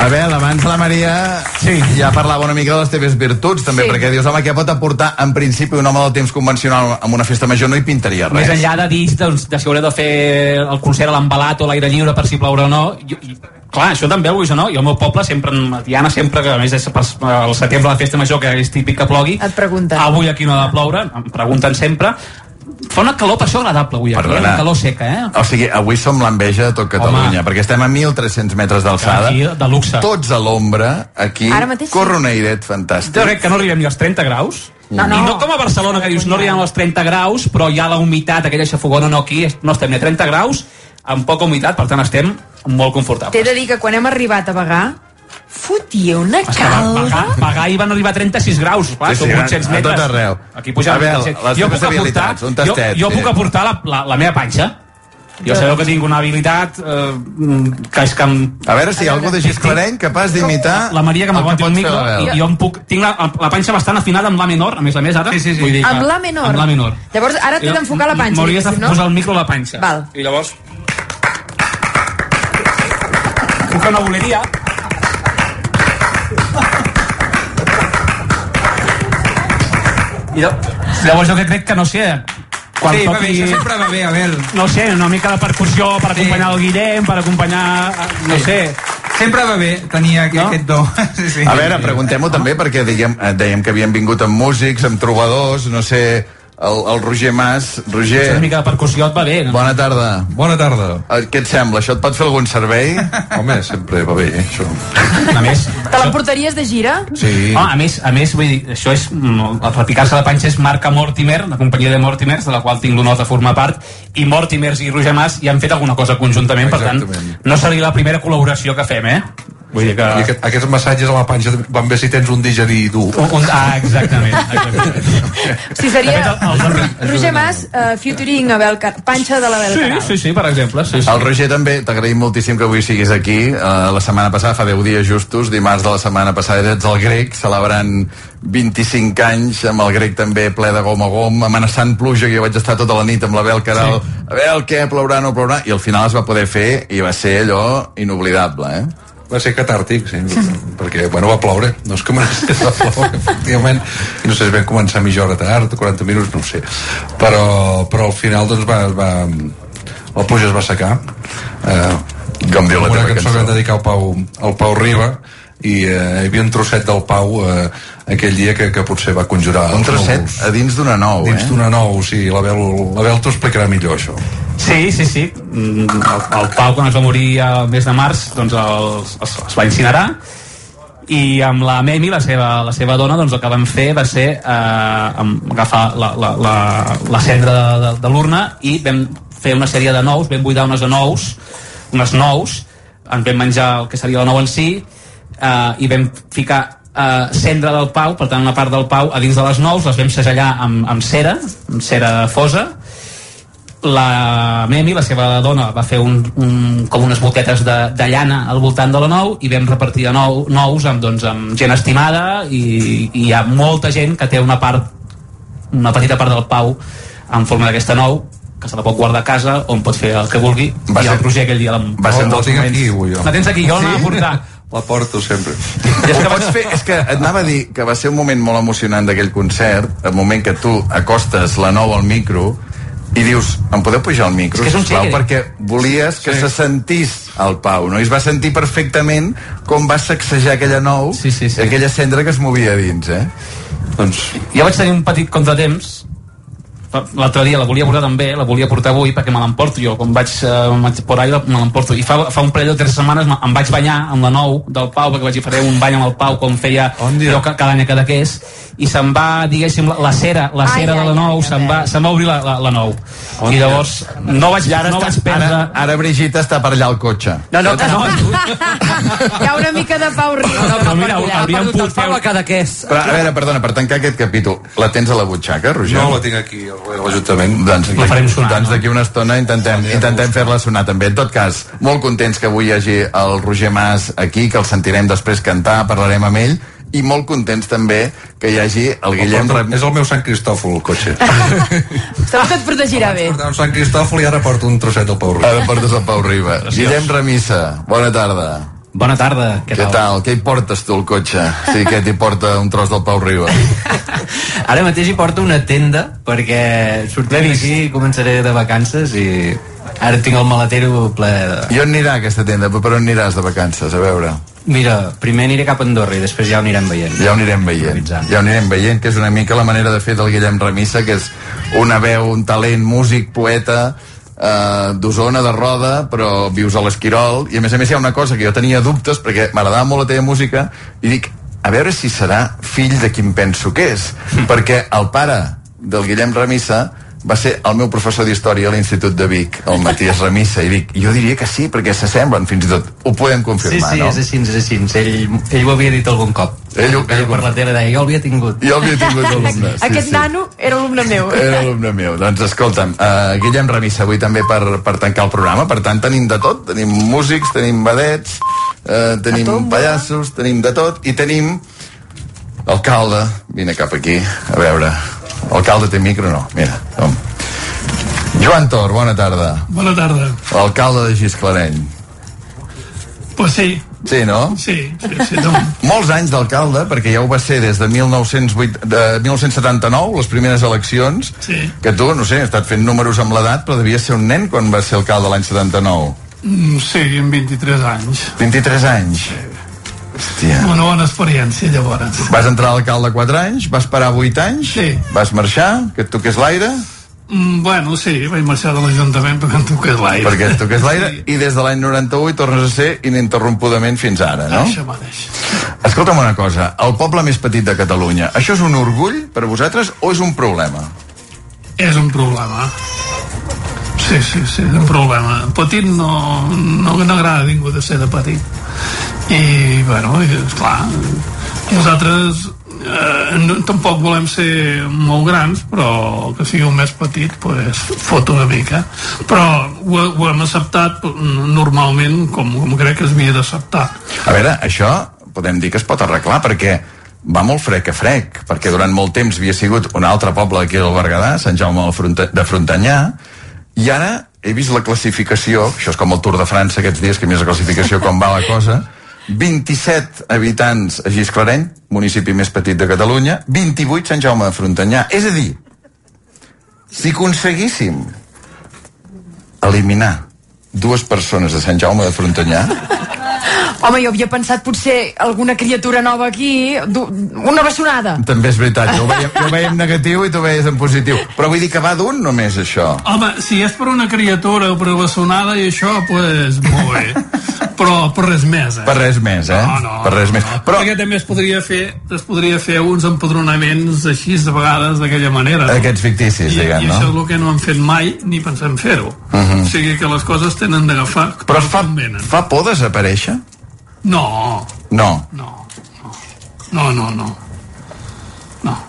K: Abel, abans la Maria sí. ja parlava una mica de les teves virtuts, també, sí. perquè dius, home, què pot aportar en principi un home del temps convencional amb una festa major? No hi pintaria res.
R: Més enllà de dir doncs, de si hauré de fer el concert a l'embalat o a l'aire lliure per si plourà o no, jo, i, clar, això també ho veus o no? Jo al meu poble sempre, en Tiana, sempre, que a més és per, el setembre la festa major, que és típic que plogui,
N: Et pregunten.
R: avui aquí no
K: Ah.
R: ha de ploure, em pregunten sempre, fa una calor per això agradable avui aquí, eh?
K: Perdona.
R: una calor seca, eh?
K: O sigui, avui som l'enveja de tot Catalunya, Home. perquè estem a 1.300 metres d'alçada.
R: Aquí, de luxe.
K: Tots a l'ombra, aquí.
R: Ara mateix sí.
K: Corre un airet fantàstic.
R: Jo crec que no arribem ni als 30 graus.
K: No, no.
R: I no com a Barcelona, que dius, no arribem als 30 graus, però hi ha la humitat, aquella xafogona, no aquí, no estem ni a 30 graus, amb poca humitat, per tant estem molt confortables.
N: T'he de dir que quan hem arribat a vagar, fotia una calda.
R: Pagar, pagar i van arribar a 36 graus, clar,
K: Sí,
R: són
K: sí,
R: 800
K: a- a
R: metres.
K: tot arreu.
R: Aquí pujant
K: Abel,
R: 800.
K: les
R: jo
K: teves
R: puc aportar,
K: habilitats, un tastet,
R: jo, jo
K: sí.
R: puc aportar la, la, la meva panxa. Jo sabeu que tinc una habilitat eh, que és que... Em...
K: A veure si hi ha algú de Gisclareny capaç d'imitar
R: La Maria que
K: el que
R: m'aguanti
K: pot
R: un
K: fer
R: micro
K: l'Abel.
R: i jo em puc... Tinc la, la panxa bastant afinada amb la menor, a més a més, ara. Sí, sí, sí. Vull dir que-
N: Amb la menor.
R: Amb la menor.
N: Llavors, ara t'he
R: Jo-
N: d'enfocar la
R: m-
N: panxa.
R: M'hauries de
N: diguéssim,
R: posar el micro a la panxa.
N: Val.
R: I llavors... Puc fer una boleria. I llav- llavors jo que crec que no sé... eh. Quan
P: Sí, va
R: toqui...
P: bé, això sempre va bé, Abel.
R: No ho sé, una mica de percussió per acompanyar el Guillem, per acompanyar... eh, No
P: Sí.
R: sé.
P: Sempre va bé tenir aquest, no? aquest do. sí, sí.
K: A veure, preguntem-ho també perquè dèiem, eh, dèiem que havien vingut amb músics, amb trobadors, no sé, el, el Roger Mas. Roger...
R: Una mica de percussió et va bé, no?
K: Bona tarda.
P: Bona tarda.
K: eh, Què et sembla? Això et pot fer algun servei? Home, sempre va bé, eh, això.
R: A més,
N: Te l'emportaries de gira?
K: Sí.
R: Ah, a més, a més, vull dir, això és... mm, El repicar-se la panxa és marca Mortimer, la companyia de Mortimers, de la qual tinc l'honor de formar part, i Mortimers i Roger Mas hi han fet alguna cosa conjuntament, per tant, no seria la primera col·laboració que fem, eh? Vull dir que...
S: I aquest, aquests massatges a la panxa van bé si tens un digerí dur.
R: Un, un, ah, exactament. exactament.
N: Si seria Roger Mas, uh, featuring Abel Car Panxa de l'Abel Caral.
R: sí, sí, per exemple. Sí,
K: sí. El Roger també, t'agraïm moltíssim que avui siguis aquí. Uh, la setmana passada, fa 10 dies justos, dimarts de la setmana passada ets el grec, celebrant 25 anys, amb el grec també ple de gom a gom, amenaçant pluja, que jo vaig estar tota la nit amb l'Abel Caral, sí. a veure què, plourà, no plourà, i al final es va poder fer i va ser allò inoblidable, eh?
S: Va ser catàrtic, sí, perquè, bueno, va ploure. No és que mereixés la ploure, efectivament. I no sé si vam començar mitja hora tard, 40 minuts, no ho sé. Però, però al final, doncs, va, va, la pluja es va secar. Eh,
K: Com diu la
S: una
K: teva
S: cançó. que
K: cançó.
S: vam dedicar al Pau, al Pau Riba, i eh, hi havia un trosset del Pau eh, aquell dia que, que potser va conjurar
K: Un
S: els
K: trosset
S: núvols.
K: a dins d'una nou,
S: dins
K: eh?
S: d'una nou, sí, l'Abel l'Abel t'ho explicarà millor això
R: Sí, sí, sí. Mm, El, el Pau, quan es va morir el mes de març, doncs el, es, es va incinerar i amb la Memi, la seva, la seva dona, doncs el que vam fer va ser eh, amb- agafar la, la, la, la cendra de, de, de l'urna i vam fer una sèrie de nous, vam buidar unes de nous, unes nous, ens vam menjar el que seria la nou en si eh, i vam ficar eh, cendra del Pau, per tant una part del Pau a dins de les nous, les vam segellar amb, amb cera, amb cera fosa, la Memi, la seva dona, va fer un, un, com unes botetes de, de llana al voltant de la nou i vam repartir de nou, nous amb, doncs, amb gent estimada i, i hi ha molta gent que té una part una petita part del Pau en forma d'aquesta nou que se la pot guardar a casa on pot fer el que vulgui va i ser, el Roger aquell dia la,
S: va ser un dels moments aquí, avui, jo.
R: la tens aquí, jo sí? la portar
S: la porto sempre
K: I és que, pots fer, és que et anava a dir que va ser un moment molt emocionant d'aquell concert, el moment que tu acostes la nou al micro i dius, em podeu pujar al micro,
R: És que és un
K: sisplau,
R: tigre.
K: perquè volies que
R: Sí.
K: sí. se sentís el Pau, no? I es va sentir perfectament com va sacsejar aquella nou, sí, sí, sí. aquella cendra que es movia a dins, eh?
S: Doncs...
R: Jo vaig tenir un petit contratemps l'altre dia la volia portar també, la volia portar avui perquè me l'emporto jo, quan vaig eh, por ahí me l'emporto, i fa, fa un parell o tres setmanes me- em vaig banyar amb la nou del Pau perquè vaig dir, faré un bany amb el Pau com feia jo ca- cada any a Cadaqués i se'm va, diguéssim, la, la cera la
O: Ai,
R: cera
O: ai,
R: de la nou, se'm va, se'm va obrir la, la, la nou i llavors no vaig,
K: I ara,
R: no
K: està,
R: vaig perdre
K: ara, ara Brigitte està per allà al cotxe.
R: no, no, no,
K: Ah,
N: Hi ha una mica de Pau Riba. No,
R: però mira, hauríem pogut fer...
Q: Cada que és.
K: Però, a veure, perdona, per tancar aquest capítol, la tens a la butxaca, Roger?
S: No, la tinc aquí, a l'Ajuntament.
K: Doncs,
S: La farem sonar,
K: Doncs d'aquí una estona intentem, intentem fer-la sonar també. En tot cas, molt contents que avui hi hagi el Roger Mas aquí, que el sentirem després cantar, parlarem amb ell, i molt contents també que hi hagi el Guillem...
S: porto- És el meu Sant Cristòfol, el cotxe.
N: Segur que et protegirà bé.
S: Portava un Sant Cristòfol i ara porto un trosset del Pau Riba.
K: Ara portes el Pau Riba. Guillem Remissa, bona tarda.
T: Bona tarda.
K: Què, tal? Què hi portes tu, el cotxe? Sí, que t'hi porta un tros del Pau Riba.
T: Ara mateix hi porto una tenda perquè sortiré d'aquí i començaré de vacances i ara tinc el maletero ple de...
K: I on anirà aquesta tenda? Per on aniràs de vacances? A veure.
T: Mira, primer aniré cap a Andorra i després ja ho anirem veient.
K: Ja ho anirem veient. Ja ho anirem veient, que és una mica la manera de fer del Guillem Remissa, que és una veu, un talent, músic, poeta, eh, d'Osona, de Roda, però vius a l'Esquirol, i a més a més hi ha una cosa que jo tenia dubtes, perquè m'agradava molt la teva música, i dic, a veure si serà fill de quin penso que és,
T: Mm.
K: perquè el pare del Guillem Remissa va ser el meu professor d'història a l'Institut de Vic, el Matías Remissa, i dic, jo diria que sí, perquè s'assemblen, fins i tot. Ho podem
T: Sí,
K: confirmar,
T: sí,
K: no?
T: és així, és així. Ell, ell ho havia dit algun cop.
K: Ell, ho- ell,
T: Per la tele deia, jo l'havia tingut.
K: Jo l'havia tingut alumne. Sí,
N: Aquest
K: sí.
N: nano era alumne meu.
K: Era alumne meu. Doncs escolta'm, uh, Guillem Remissa avui també per, per tancar el programa. Per tant, tenim de tot. Tenim músics, tenim vedets, uh, tenim pallassos, tenim de tot. I tenim alcalde. Vine cap aquí, a veure. Alcalde té micro o no? Mira, som. Joan Tor, bona tarda.
U: Bona tarda.
K: Alcalde de Gisclareny.
U: Pues sí.
K: Sí, no?
U: Sí, sí, sí. doncs, No.
K: Molts anys d'alcalde, perquè ja ho va ser des de 1908, de 1979, les primeres eleccions,
U: Sí.
K: que tu, no sé, has estat fent números amb l'edat, però devies ser un nen quan va ser alcalde l'any 79.
U: Mm, sí, amb 23 anys.
K: 23 anys. Hòstia.
U: Una bona experiència, llavors.
K: Vas entrar alcalde 4 anys, vas parar 8 anys, sí. vas marxar, que et toqués l'aire,
U: Mm, bueno, sí, vaig marxar de l'Ajuntament perquè em toqués l'aire.
K: perquè et toqués l'aire, i des de l'any 98 tornes a ser ininterrompudament fins ara, no?
U: Això mateix.
K: Escolta'm una cosa, el poble més petit de Catalunya, això és un orgull per a vosaltres o és un problema?
U: És un problema. Sí, sí, sí, és un problema. Petit no, no, no agrada a ningú de ser de petit. I, bueno, i, esclar, nosaltres eh, no, tampoc volem ser molt grans, però que sigui un més petit, pues, fot una mica. Però ho, ho hem acceptat mm, normalment com, com crec que s'havia d'acceptar.
K: A veure, això podem dir que es pot arreglar perquè va molt frec a frec, perquè durant molt temps havia sigut un altre poble aquí del Berguedà, Sant Jaume del Fronta- de Frontanyà, i ara he vist la classificació, això és com el Tour de França aquests dies, que mires la classificació com va la cosa, 27 habitants a Gisclareny, municipi més petit de Catalunya, 28 Sant Jaume de Frontanyà. És a dir, si aconseguíssim eliminar dues persones de Sant Jaume de Frontanyà,
N: Home, jo havia pensat potser alguna criatura nova aquí, du- una bessonada.
K: També és veritat, jo ho veiem, jo ho veiem negatiu i tu ho veies en positiu. Però vull dir que va d'un només això.
U: Home, si és per una criatura o per la sonada i això, doncs, pues, molt bé. Però per res més, eh?
K: Per res més, eh?
U: No, no,
K: per res més.
U: Però... Perquè també es podria fer, es podria fer uns empadronaments així de vegades d'aquella manera. no?
K: Aquests ficticis,
U: I,
K: diguem,
U: I això
K: no?
U: és el que no han fet mai ni pensem fer-ho. Uh
K: Mhm.
U: -huh. O sigui que les coses tenen d'agafar...
K: Però fa, fa por desaparèixer?
U: No,
K: No,
U: no, no, no.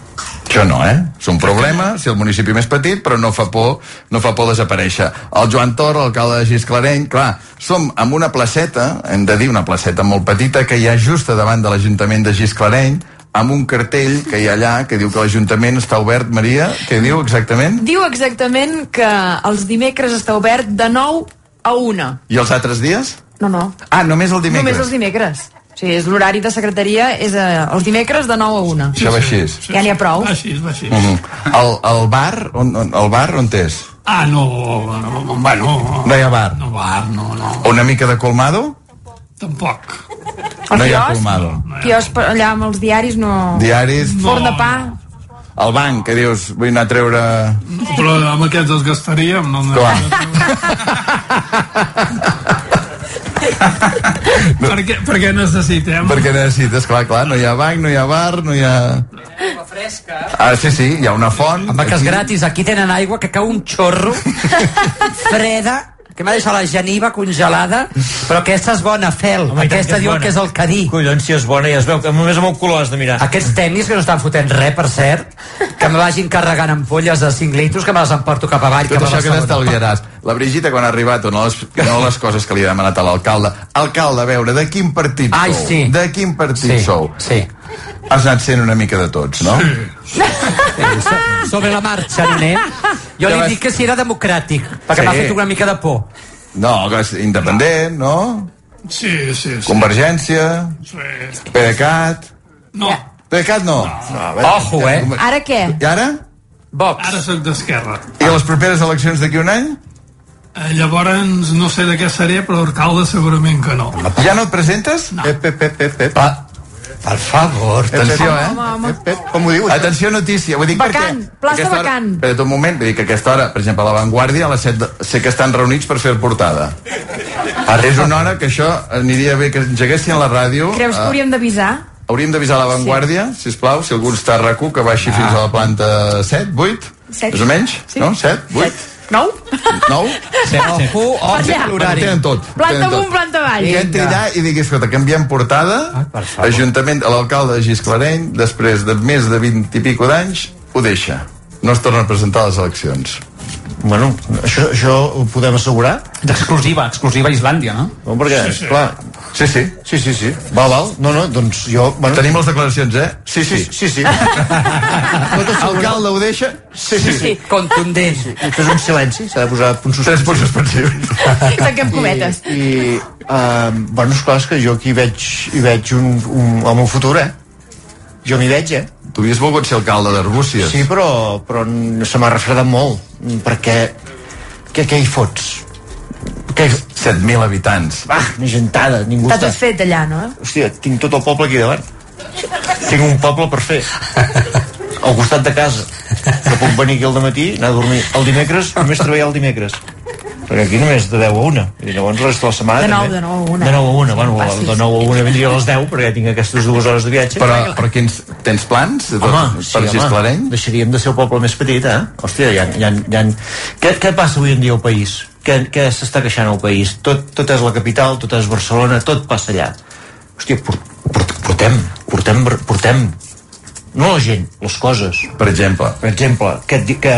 K: això no, eh? És un problema, si el municipi més petit, però no fa por, no fa por desaparèixer. El Joan Tor, l'alcalde de Gisclareny, clar, som en una placeta, hem de dir una placeta molt petita, que hi ha just a davant de l'Ajuntament de Gisclareny, amb un cartell que hi ha allà que diu que l'Ajuntament està obert, Maria, què diu exactament?
N: Diu exactament que els dimecres està obert de 9 a 1.
K: I els altres dies?
N: No, no.
K: Ah, només el dimecres.
N: Només els dimecres. O sigui, és l'horari de secretaria és eh, els dimecres de 9 a 1.
K: Això va així.
N: Ja n'hi ha prou.
U: Així, així.
K: Mhm. El, el bar, on, on, el bar on és?
U: Ah, no, no, bueno...
K: No hi ha bar.
U: No bar, no, no.
K: Una mica de colmado?
U: Tampoc.
K: No hi ha
N: quiosc?
K: colmado.
N: Quios allà amb els diaris no...
K: Diaris?
N: Forn de pa?
K: El banc, que dius, vull anar a treure...
U: Però amb aquests els gastaríem, no?
K: Clar.
U: per, què, per què necessitem?
K: Perquè necessites, clar, clar, no hi ha banc, no hi ha bar, no hi ha... Ah, sí, sí, hi ha una font.
Q: Home, que és gratis, aquí tenen aigua que cau un xorro freda que m'ha deixat la geniva congelada però aquesta és bona, Fel Home, aquesta diu que és el cadí
O: Collons, si és bona, ja es veu, que només amb el color has de mirar.
Q: aquests tennis que no estan fotent res, per cert, que me vagin carregant ampolles de 5 litros, que me les emporto cap avall.
K: Tot
Q: cap a
K: això que
Q: Barcelona.
K: t'estalviaràs. La Brigita, quan ha arribat, una de les, una de les coses que li ha demanat a l'alcalde, alcalde, a veure, de quin partit
Q: Ai,
K: sou?
Q: sí.
K: De quin partit
Q: Sí,
K: sou?
Q: Sí.
K: Has anat sent una mica de tots, no? Sí.
Q: Sobre la marxa, nen. Jo
K: Ja
Q: li
K: vas-
Q: dic que si era democràtic, perquè
K: Sí.
Q: m'ha fet una mica de por.
K: No, que és independent, no?
U: Sí, sí, sí.
K: Convergència, PDeCAT...
U: No.
K: PDeCAT no. no. no
Q: Ojo, eh?
N: Ara què?
K: I ara?
Q: Vox.
U: Ara sóc d'esquerra.
K: I a les properes eleccions d'aquí un any?
U: Eh, Llavors, no sé de què seré, però alcalde segurament que no.
K: Ja no et presentes? Eh, No. Pep, pep, pep, pep, pep.
Q: Ah,
K: Pa. Per favor, atenció, eh?
N: Home, home.
K: Pep, pep, com ho diu? Atenció, notícia. Vull dir,
N: Vacant,
K: perquè...
N: plaça
K: aquesta hora-
N: vacant.
K: Espera't un moment, vull dir que aquesta hora, per exemple, a La Vanguardia, a les 7 de... sé que estan reunits per fer portada. És una hora que això aniria bé que engeguessin la ràdio.
N: Creus que
K: eh,
N: hauríem d'avisar?
K: Hauríem d'avisar a La Vanguardia, sí. sisplau,
N: Ah.
K: si algú està a rac que baixi fins a la planta 7, 8,
N: Set.
K: més o menys,
N: Sí.
K: no? 7, 8.
N: Nou?
K: Nou?
N: Set, set.
K: Ojo, ojo,
N: Allà.
K: l'horari. Tenen tot.
N: Planta
K: tenen tot.
N: amunt, planta avall.
K: Que entri
N: Vinga.
K: allà i digui, escolta, canviem portada, ah, Ajuntament, a l'alcalde de Gisclareny, després de més de 20 i pico d'anys, ho deixa. No es torna a presentar a les eleccions.
O: Bueno, això, això ho podem assegurar?
R: D'exclusiva, exclusiva a Islàndia, no?
O: No, perquè,
K: Sí,
O: sí,
K: sí.
O: sí. clar...
K: Sí, sí.
O: Sí, sí, sí. Val, val. No, no, doncs jo... Bueno...
K: Tenim les declaracions, eh?
O: Sí, sí, sí. sí.
K: L'alcalde ho deixa?
O: Sí, sí, sí. Contundent. Sí. Després un silenci, s'ha de posar punts suspensius.
K: Tres punts suspensius.
N: Tanquem cometes.
O: I, i uh, bueno, esclar, és que jo aquí veig, hi veig un, un, el meu futur, eh? Jo m'hi veig, eh?
K: Tu havies volgut ser alcalde d'Arbúcies.
O: Sí, però, però n- se m'ha refredat molt, mm, perquè què, què hi fots? Què...
K: 7.000 habitants.
O: Ah, una gentada, ningú
N: T'ha
O: està...
N: tot fet allà, no?
O: Hòstia, tinc tot el poble aquí davant. Tinc un poble per fer. Al costat de casa. Que puc venir aquí al matí, anar a dormir. El dimecres, només treballar el dimecres. Perquè aquí només de 10 a 1. I llavors la resta de la setmana...
N: De nou,
O: Ah, també.
N: de nou a una.
O: De 9 a 1, bueno,
N: Passis.
O: de 9 a 1 vindria a les 10, perquè tinc aquestes dues hores de viatge.
K: Però, però quins, tens plans?
O: Home, sí,
K: per
O: home,
K: Gisclareny?
O: deixaríem de ser el poble més petit, eh? Hòstia, ja, ja, ja... Què, què passa avui en dia al país? Què, què s'està queixant al país? Tot, tot és la capital, tot és Barcelona, tot passa allà. Hòstia, por- por- portem, portem, Bar- portem, no la gent, les coses.
K: Per exemple.
O: Per exemple, que, et di- que,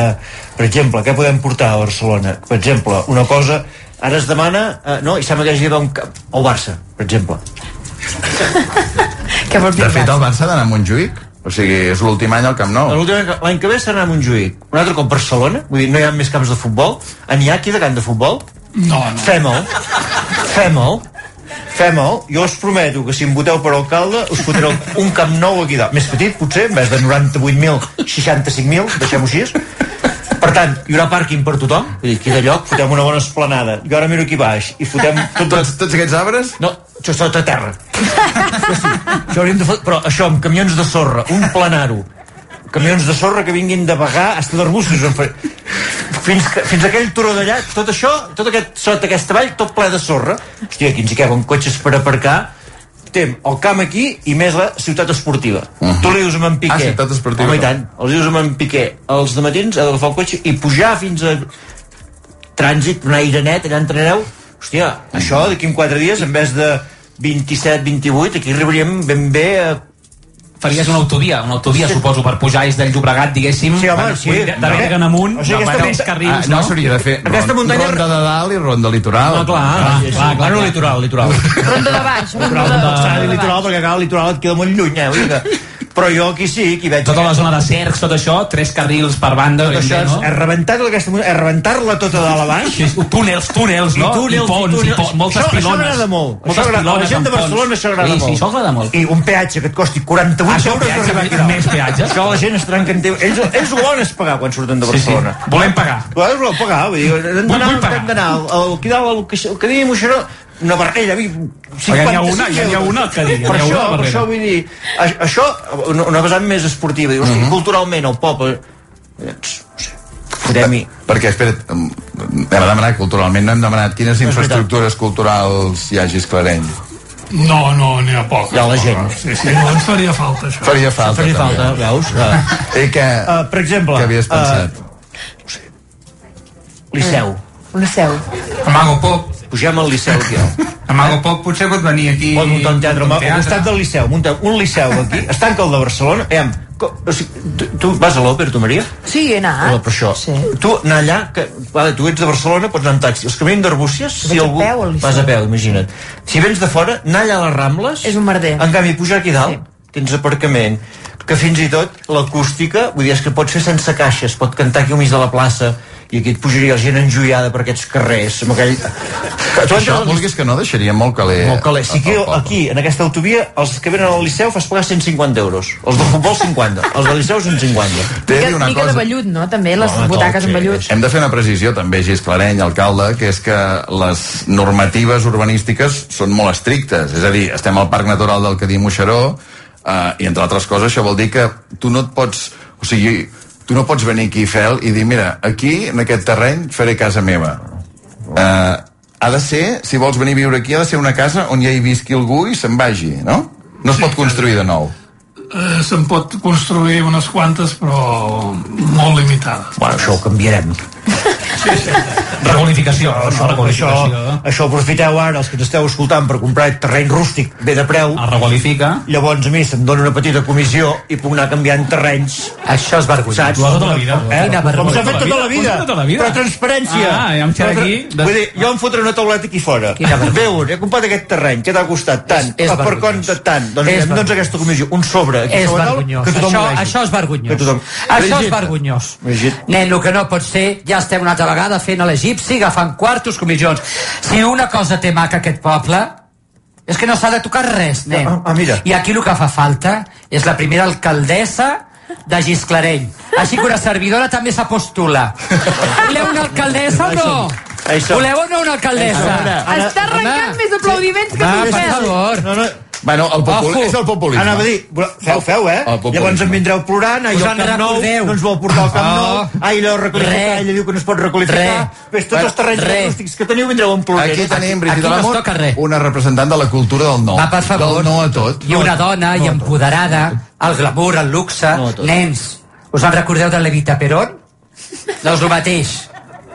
O: per exemple, què podem portar a Barcelona? Per exemple, una cosa... Ara es demana... Eh, no, i sembla que hagi d'anar a un cap... Al Barça, per exemple.
N: Què vols
K: De fet, el Barça ha d'anar a Montjuïc. O sigui, és l'últim any al Camp Nou.
O: L'últim any que- L'any que ve serà a Montjuïc. Un altre cop Barcelona. Vull dir, no hi ha més camps de futbol. N'hi ha aquí de camp de futbol? No, no. Fem-el. Fem-el. Fem-el. Jo us prometo que si em voteu per alcalde us fotré un camp nou aquí dalt. Més petit, potser, en vez de 98.000, 65.000, deixem-ho així. Per tant, hi haurà pàrquing per tothom. Vull dir, aquí de lloc fotem una bona esplanada. Jo ara miro aquí baix i fotem... Tot... Tots,
K: tots aquests arbres?
O: No, això és sota terra. Això hauríem de fer, però això, amb camions de sorra, un planaro, camions de sorra que vinguin de vagar hasta d'arbustos. en faré. Fins, que, fins a aquell turó d'allà, tot això, tot aquest, sota aquesta vall, tot ple de sorra. Hòstia, aquí ens hi caben cotxes per aparcar. Tem el camp aquí i més la ciutat esportiva. Uh -huh. Tu li dius a en Piqué.
K: Ah, ciutat esportiva.
O: Home, i tant. Els dius a en Piqué. Els de matins ha d'agafar el cotxe i pujar fins a trànsit, un aire net, allà entrareu. Hòstia, això d'aquí en 4 dies, en vez de 27, 28, aquí arribaríem ben bé a
R: Faries una autovia, una autovia,
O: Sí.
R: suposo, per pujar des del Llobregat, diguéssim,
O: Sí, home,
R: bueno,
O: sí.
R: de, de
O: No.
R: Bergen amunt,
O: O sigui, aquesta
R: bueno, els
O: munta-
R: carrils,
K: Ah, no, s'hauria de fer
R: Aquesta
K: ron-
R: muntanya-
K: ronda de dalt i ronda litoral.
O: No, clar, clar, clar, clar, clar, clar. litoral, litoral.
N: Ronda de baix. Ronda
O: Litoral,
N: de
O: doncs s'ha de dir
N: baix.
O: litoral, perquè clar, el litoral et queda molt lluny, eh? vull dir que- Però jo aquí sí, aquí veig...
R: Tota la zona de cercs, tot això, tres carrils per banda,
O: Tot això és,
R: no?
O: és rebentar-la aquesta muntanya, és rebentar-la tota de la baix.
R: Sí, túnels, túnels, no?
O: I túnels,
R: I ponts,
O: túnels.
R: i ponts, moltes
O: això, Això
R: pilones.
O: m'agrada molt.
R: Moltes
O: Això agrada, a la
R: pilones
O: gent de
R: amb ponts.
O: Barcelona això agrada
R: Sí, sí,
O: molt.
R: això agrada molt.
O: I un peatge que et costi 48
R: Això,
O: euros.
R: peatge,
O: arribar aquí dalt.
R: més peatges.
O: Això la gent es trenca en teu. Ells, ells ho volen és pagar quan surten de
R: Sí, sí.
O: Barcelona.
R: Volem pagar.
O: Però voleu pagar, vull dir, hem d'anar,
R: Vull- vull pagar.
O: hem d'anar al- al qui dalt, al que- al que digui Moixeró, una barrera, vi-
R: Però ja n'hi ha una,
O: 55
R: ja n'hi ha
O: euros.
R: una que digui,
O: Per
R: n'hi ha
O: això,
R: una
O: per
R: barrera.
O: això vull dir, a- això, una, una vessant més esportiva, dius, hosti, culturalment el poble... Fotem-hi.
K: Perquè, espera't, em- hem demanat culturalment, no hem demanat quines infraestructures culturals hi ha a Gisclareny.
U: No, no, n'hi ha poc.
K: Hi ha la gent.
U: Sí, sí, no ens faria falta això.
K: Faria falta,
O: Faria
K: també.
O: falta, Ah, veus?
K: I que,
O: uh, per exemple,
K: que havies pensat? Uh,
O: Liceu.
N: Una seu.
O: Amago Pop. Pugem al Liceu, aquí. Amago Pop potser pot venir aquí... Pot muntar un teatre, home, al costat del Liceu. Munta un Liceu aquí, es tanca el de Barcelona. Aviam, co- o sigui, tu, tu vas a l'Òpera, tu, Maria?
N: Sí, he
O: Ah,
N: anat.
O: per això. Sí. Tu anar allà, que, vale, tu ets de Barcelona, pots anar amb taxi. Els que venen d'Arbúcies,
N: Vaig
O: si
N: a
O: algú...
N: peu al Liceu.
O: vas a peu, imagina't. Si vens de fora, anar allà a les Rambles... És un merder. En canvi, pujar aquí dalt, sí. tens aparcament, que fins i tot l'acústica, vull dir, és que pots fer sense caixes, pot cantar aquí al mig de la plaça, i aquí et pujaria gent enjoiada per aquests carrers, amb aquell... Tu
K: això, vulguis que no, deixaria molt caler.
O: Molt caler. Si aquí, aquí, en aquesta autovia, els que venen al Liceu fas pagar 150 euros. Els de futbol, 50. Els de Liceu, 150.
N: Mica, mica de vellut, no? També, les
K: Home,
N: butaques
K: tot,
N: amb
K: sí.
N: vellut.
K: Hem de fer una precisió també, Gis Clareny, alcalde, que és que les normatives urbanístiques són molt estrictes. És a dir, estem al Parc Natural del Cadí Moixeró eh, i, entre altres coses, això vol dir que tu no et pots... O sigui, tu no pots venir aquí, Fel, i dir, mira, aquí, en aquest terreny, faré casa meva. Eh, ha de ser, si vols venir a viure aquí, ha de ser una casa on ja hi visqui algú i se'n vagi, no? No es pot construir de nou.
U: Eh, se'n pot construir unes quantes, però molt limitades.
O: Bueno, això ho canviarem.
R: Sí, sí. Requalificació.
O: això, això, això aprofiteu ara, els que ens esteu escoltant, per comprar terreny rústic bé de preu. El
R: Ah, requalifica.
O: Llavors, a mi, se'm dona una petita comissió i puc anar canviant terrenys.
Q: Això és vergonya.
O: Saps?
R: Ho has fet tota la vida.
O: Eh?
R: Quina vergonya.
O: Com s'ha fet tota la
R: Ho has
O: vida.
R: fet tota la vida.
O: Però transparència.
R: Ah, ja em queda
O: Però-
R: aquí.
O: Vull dir, jo em fotré una tauleta aquí fora. Veuen, he comprat aquest terreny, què t'ha costat? Tant.
Q: és
O: Ah, per
Q: vergonyós.
O: compte, tant. Doncs,
Q: És
O: mirem, doncs
Q: vergonyós.
O: aquesta comissió, un sobre. Aquí
Q: És
O: sobre dalt,
Q: vergonyós.
O: que tothom
Q: Això,
O: ho vegi.
Q: això és vergonyós.
O: Que tothom-
Q: Això és
O: Brigitte.
Q: vergonyós.
O: Brigitte.
Q: Nen, el que no pot ser, ja estem una altra vegada fent a l'egipci, agafant quartos, comissions. Si una cosa té maca aquest poble, és que no s'ha de tocar res, nen.
O: Ah, ah, mira.
Q: I aquí el que fa falta és la primera alcaldessa de Gisclareny. Així que una servidora també s'ha postula. Voleu una alcaldessa o no?
O: Això.
Q: Voleu o no una alcaldessa?
K: Ara, ara,
N: Està arrencant més aplaudiments que
Q: Va,
N: tu,
Q: per
N: Fel.
Q: favor.
O: No, no,
K: Bueno, el popul...
O: Ojo.
K: és el populisme.
O: Anava a dir, feu, feu, eh?
K: El populisme.
O: Llavors em vindreu plorant, ai,
Q: Us
O: el
Q: en
O: Camp Nou,
Q: recordeu.
O: no ens vol portar al Camp
Q: Oh.
O: Nou, ai, l'heu requalificat,
Q: Re.
O: ella diu que no es pot requalificar,
K: Re.
O: ves tots
K: Bueno,
O: els terrenys
K: re.
O: acústics que teniu vindreu en plorant.
K: Aquí tenim,
O: Aquí
K: Brigitte
O: no es
K: Lamont,
O: toca
K: una representant de la cultura del no.
Q: Va, per favor.
K: Del no a tot.
Q: I una dona, i empoderada, el glamour, el luxe, nens, us en recordeu de l'Evita Perón? Doncs el mateix.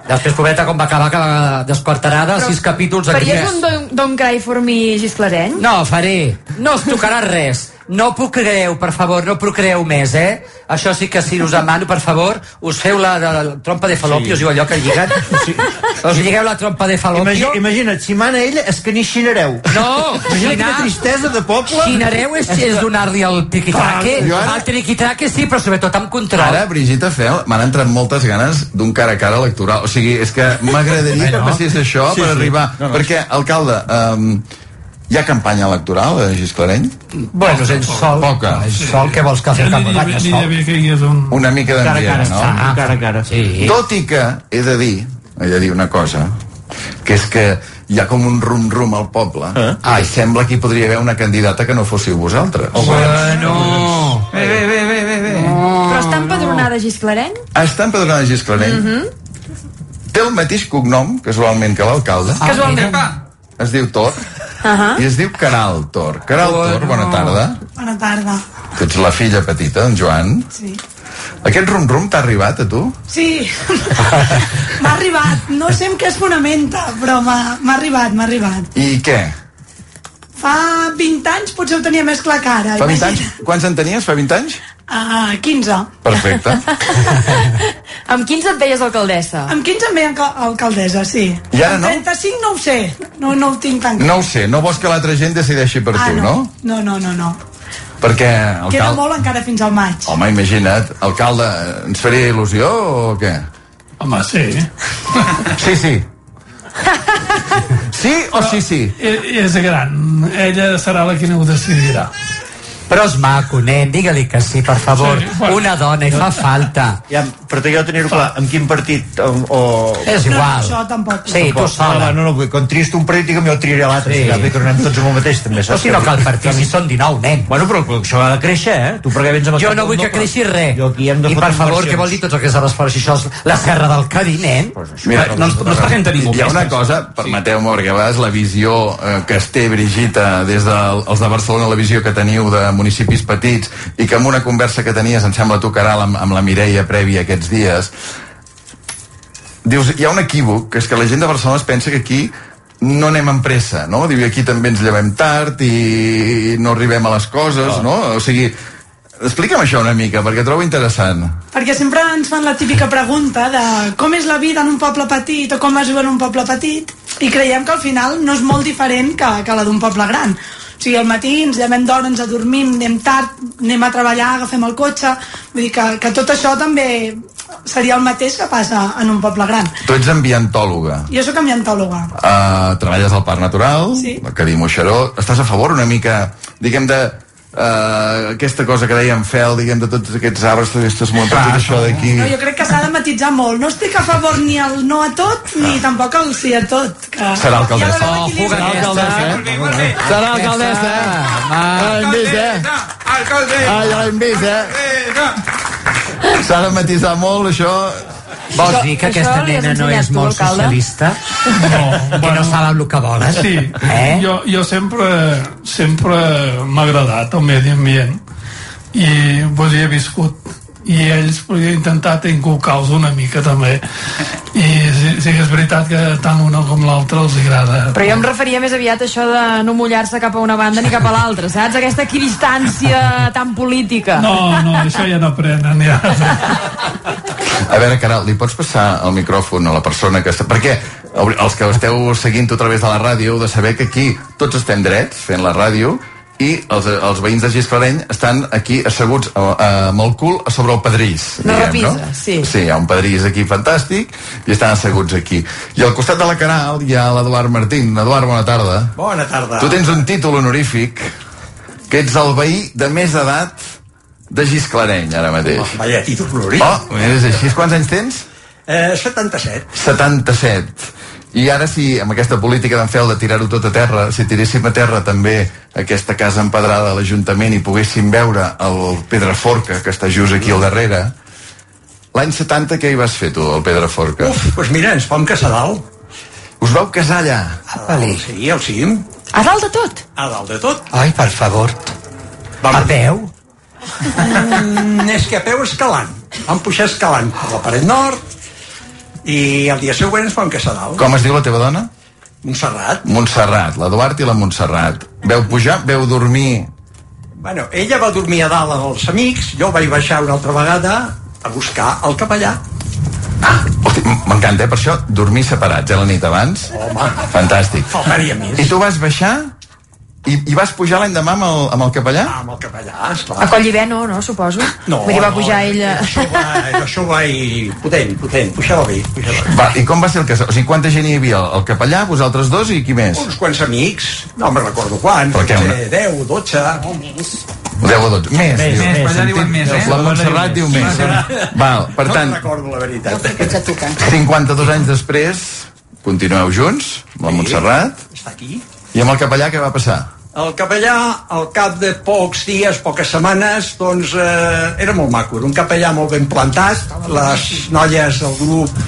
Q: Després, pobreta, com va acabar, que va desquarterada, sis capítols doncs aquí.
N: Faries un don, don Cry for me Gisclareny?
Q: No, faré. No es tocarà res. No procreu, per favor, no procreu més, eh? Això sí que si us demano, per favor, us feu la, la, la trompa de falopio, sí. us diu allò que lliguen. Sí. Us lligueu la trompa de falopio.
O: Imagina, imagina't, si mana ella, és que ni xinareu.
Q: No,
O: Imagina quina
Q: xinar-
O: tristesa de poble.
Q: Xinareu és, és donar-li el triquitraque.
K: Clar, jo ara-
Q: El triquitraque sí, però sobretot amb control.
K: Ara, Brigitte Fel, m'han entrat moltes ganes d'un cara a cara electoral. O sigui, és que m'agradaria
O: Eh,
K: que
O: no?
K: passés això
O: Sí,
K: per
O: sí.
K: arribar...
O: No, no.
K: Perquè, alcalde, em, hi ha campanya electoral a Gisclareny?
Q: Bueno, sense sol. Ah,
K: Poca.
Q: Sol, què vols que
K: faci
Q: campanya,
K: sol? Una mica
Q: Cara a cara,
K: d'ambient, no?
Q: ah,
O: Cara a cara.
Q: Sí.
K: Tot i que he de dir, he de dir una cosa, que és que hi ha com un rum-rum al poble eh? ah, i sembla que hi podria haver una candidata que no fóssiu vosaltres. Oh,
Q: bueno!
R: Bé, bé, bé, bé, bé. bé.
N: Però està empadronada Gisclareny?
K: Està empadronada a Gisclareny. Mm
N: Mhm.
K: -hmm. Té el mateix cognom, casualment, que l'alcalde.
N: Casualment.
K: Es diu Tor
N: Ahà.
C: Ah.
K: i es diu Caral Tor. Caral Tor, bona tarda.
C: Bona tarda.
K: Tu ets la filla petita, en Joan.
C: Sí.
K: Aquest rum-rum t'ha arribat a tu?
C: Sí, m'ha arribat. No sé en què es fonamenta, però m'ha m'ha arribat, m'ha arribat.
K: I què?
C: Fa 20 anys potser ho tenia més clar que ara.
K: Fa 20 anys? Quants en tenies? Fa 20 anys?
C: Uh, 15.
K: Perfecte.
C: Amb 15 et veies alcaldessa? Amb 15 em veia alca- alcaldessa, sí.
K: I ara no?
C: Amb 35 no ho sé. No, no ho tinc tan clar.
K: No ho sé, no vols que l'altra gent decideixi per
C: ah,
K: tu, no?
C: no? No, no, no, no.
K: Perquè,
C: Queda
K: alcalde...
C: molt encara fins al maig.
K: Home, imagina't, alcalde, ens faria il·lusió o què?
U: Home, sí.
K: Sí, sí. Sí o sí, sí?
U: I, eh, és gran. Ella serà la que no ho decidirà.
Q: Però és maco, nen, digue-li que sí, per favor.
O: Sí, bueno.
Q: Una dona, hi fa falta.
O: Ja, però t'he de tenir-ho clar, amb quin partit o... o...
Q: És
C: No,
Q: igual.
C: això tampoc.
Q: Sí, tu sola.
O: No, no, no, vull, quan trist un partit, digue'm, jo triaré l'altre.
Q: Sí.
O: Sí. Ja, bé, que no anem tots amb el mateix, també.
Q: Però si no cal partit, si són 19, nen.
O: Bueno, però això ha de créixer, eh? Tu perquè vens amb el
Q: Jo
O: cap
Q: no
O: del
Q: vull que
O: doble.
Q: creixi res.
O: Jo aquí hem de
Q: I per
O: fotre
Q: favor,
O: inversions.
Q: què vol dir tots aquests hores per això? Això és la serra del Cadí, nen.
K: Mira,
Q: no, ens- no es presenta ningú. eh?
K: Hi ha una cosa, permeteu-me, perquè a vegades la visió eh, que es té, Brigita, des dels els de Barcelona, la visió que teniu de municipis petits, i que amb una conversa que tenies, em sembla tu, Caral, amb, amb la Mireia prèvia aquests dies, dius, hi ha un equívoc, que és que la gent de Barcelona es pensa que aquí no anem amb pressa, no? Diu, i aquí també ens llevem tard i, i no arribem a les coses, no? O sigui, explica'm això una mica, perquè trobo interessant.
C: Perquè sempre ens fan la típica pregunta de com és la vida en un poble petit o com es viu en un poble petit i creiem que al final no és molt diferent que, que la d'un poble gran. O sigui, al matí ens llevem d'hora, ens adormim, anem tard, anem a treballar, agafem el cotxe... Vull dir que, que tot això també seria el mateix que passa en un poble gran.
K: Tu ets ambientòloga.
C: Jo sóc ambientòloga.
K: Uh, treballes al Parc Natural,
C: Sí.
K: el Cadí Moixeró. Estàs a favor una mica, diguem, de uh, aquesta cosa que dèiem Fel, diguem, de tots aquests arbres, totes aquestes muntanyes, ah, això d'aquí...
C: No, jo crec que s'ha de matitzar molt. No estic a favor ni al no a tot, ni tampoc al sí a tot. Que...
K: Serà alcaldessa.
C: Hi ha d'haver un equilibri.
K: Serà alcaldessa, eh?
P: Serà alcaldessa,
K: Ja l'hem vist, eh? Ah, ja l'hem vist, eh? S'ha de matisar molt, això...
Q: Vols dir que aquesta
K: li has
Q: nena no
K: ensenyat
Q: és
K: tu,
Q: molt
K: alcalde?
Q: socialista? No, que no sap el que vol, eh?
U: Sí, eh? jo, jo sempre, sempre m'ha agradat el medi ambient i vull dir, he viscut i ells pues, he intentat inculcar-los una mica també i sí, sí que és veritat que tant una com l'altra els agrada
N: Però jo em referia més aviat a això de no mullar-se cap a una banda ni cap a l'altra, saps? Aquesta equidistància tan política.
U: no, no, això ja no prenen ja.
K: A veure, Caral, li pots passar el micròfon a la persona que està... Perquè els que esteu seguint a través de la ràdio heu de saber que aquí tots estem drets fent la ràdio i els, els veïns de Gisclareny estan aquí asseguts eh, amb el cul a sobre el pedrís.
N: No
K: diguem,
N: repisa,
K: no?
N: sí.
K: Sí, hi ha un pedrís aquí fantàstic i estan asseguts aquí. I al costat de la Caral hi ha l'Eduard Martín. Eduard, bona tarda.
V: Bona tarda.
K: Tu tens un títol honorífic que ets el veí de més edat de Gisclareny, ara mateix.
V: Home, vaya títol honorífic.
K: Oh, és així. Quants anys tens?
V: Eh, 77.
K: 77. I ara si amb aquesta política d'en Fel de tirar-ho tot a terra, si tiréssim a terra també aquesta casa empedrada a l'Ajuntament i poguéssim veure el Pedraforca que està just aquí al darrere, l'any 70 què hi vas fer tu, al Pedraforca? Uf,
V: doncs mira, ens vam casar dalt.
K: Us vau casar allà?
V: Ah, vale. Sí, el cim.
N: A dalt de tot?
V: A dalt de tot.
Q: Ai, per favor.
V: Vam...
Q: A peu?
V: Mm, és que a peu escalant. Vam pujar escalant per la paret nord i el dia següent ens vam casar dalt.
K: Com es diu la teva dona?
V: Montserrat.
K: Montserrat, la Duarte i la Montserrat. Veu pujar, veu dormir...
V: Bueno, ella va dormir a dalt amb els amics, jo vaig baixar una altra vegada a buscar el capellà.
K: Hosti, M'encanta, eh? Per això, dormir separats, eh, la nit abans.
V: Home,
K: Fantàstic.
V: faltaria més.
K: I tu vas baixar i, i vas pujar l'endemà amb el, amb el capellà?
V: Ah, Amb el capellà, esclar.
N: A Collibeno, no, suposo?
V: No,
N: Vull dir, va
V: no,
N: pujar ella...
V: Això va, Ah, això va i... Potent, potent, puixava bé. Puixava bé.
K: Va, I com va ser el casal? O sigui, quanta gent hi havia? El capellà, vosaltres dos i qui més?
V: Uns quants amics, no me'n recordo quants,
K: Però què, una-
V: potser 10, 12... No, més.
K: 10 o 12. Més,
V: Més,
K: diu.
V: més, allà
K: Sentim-
V: diuen més, eh?
K: La Montserrat diu més. eh? Val, per
V: no
K: tant,
V: me'n recordo la veritat.
K: 52 anys després, continueu junts, amb la Montserrat,
V: Està aquí.
K: i amb el capellà què va passar?
V: El capellà, al cap de pocs dies, poques setmanes, doncs eh, era molt maco, era un capellà molt ben plantat, les noies del grup...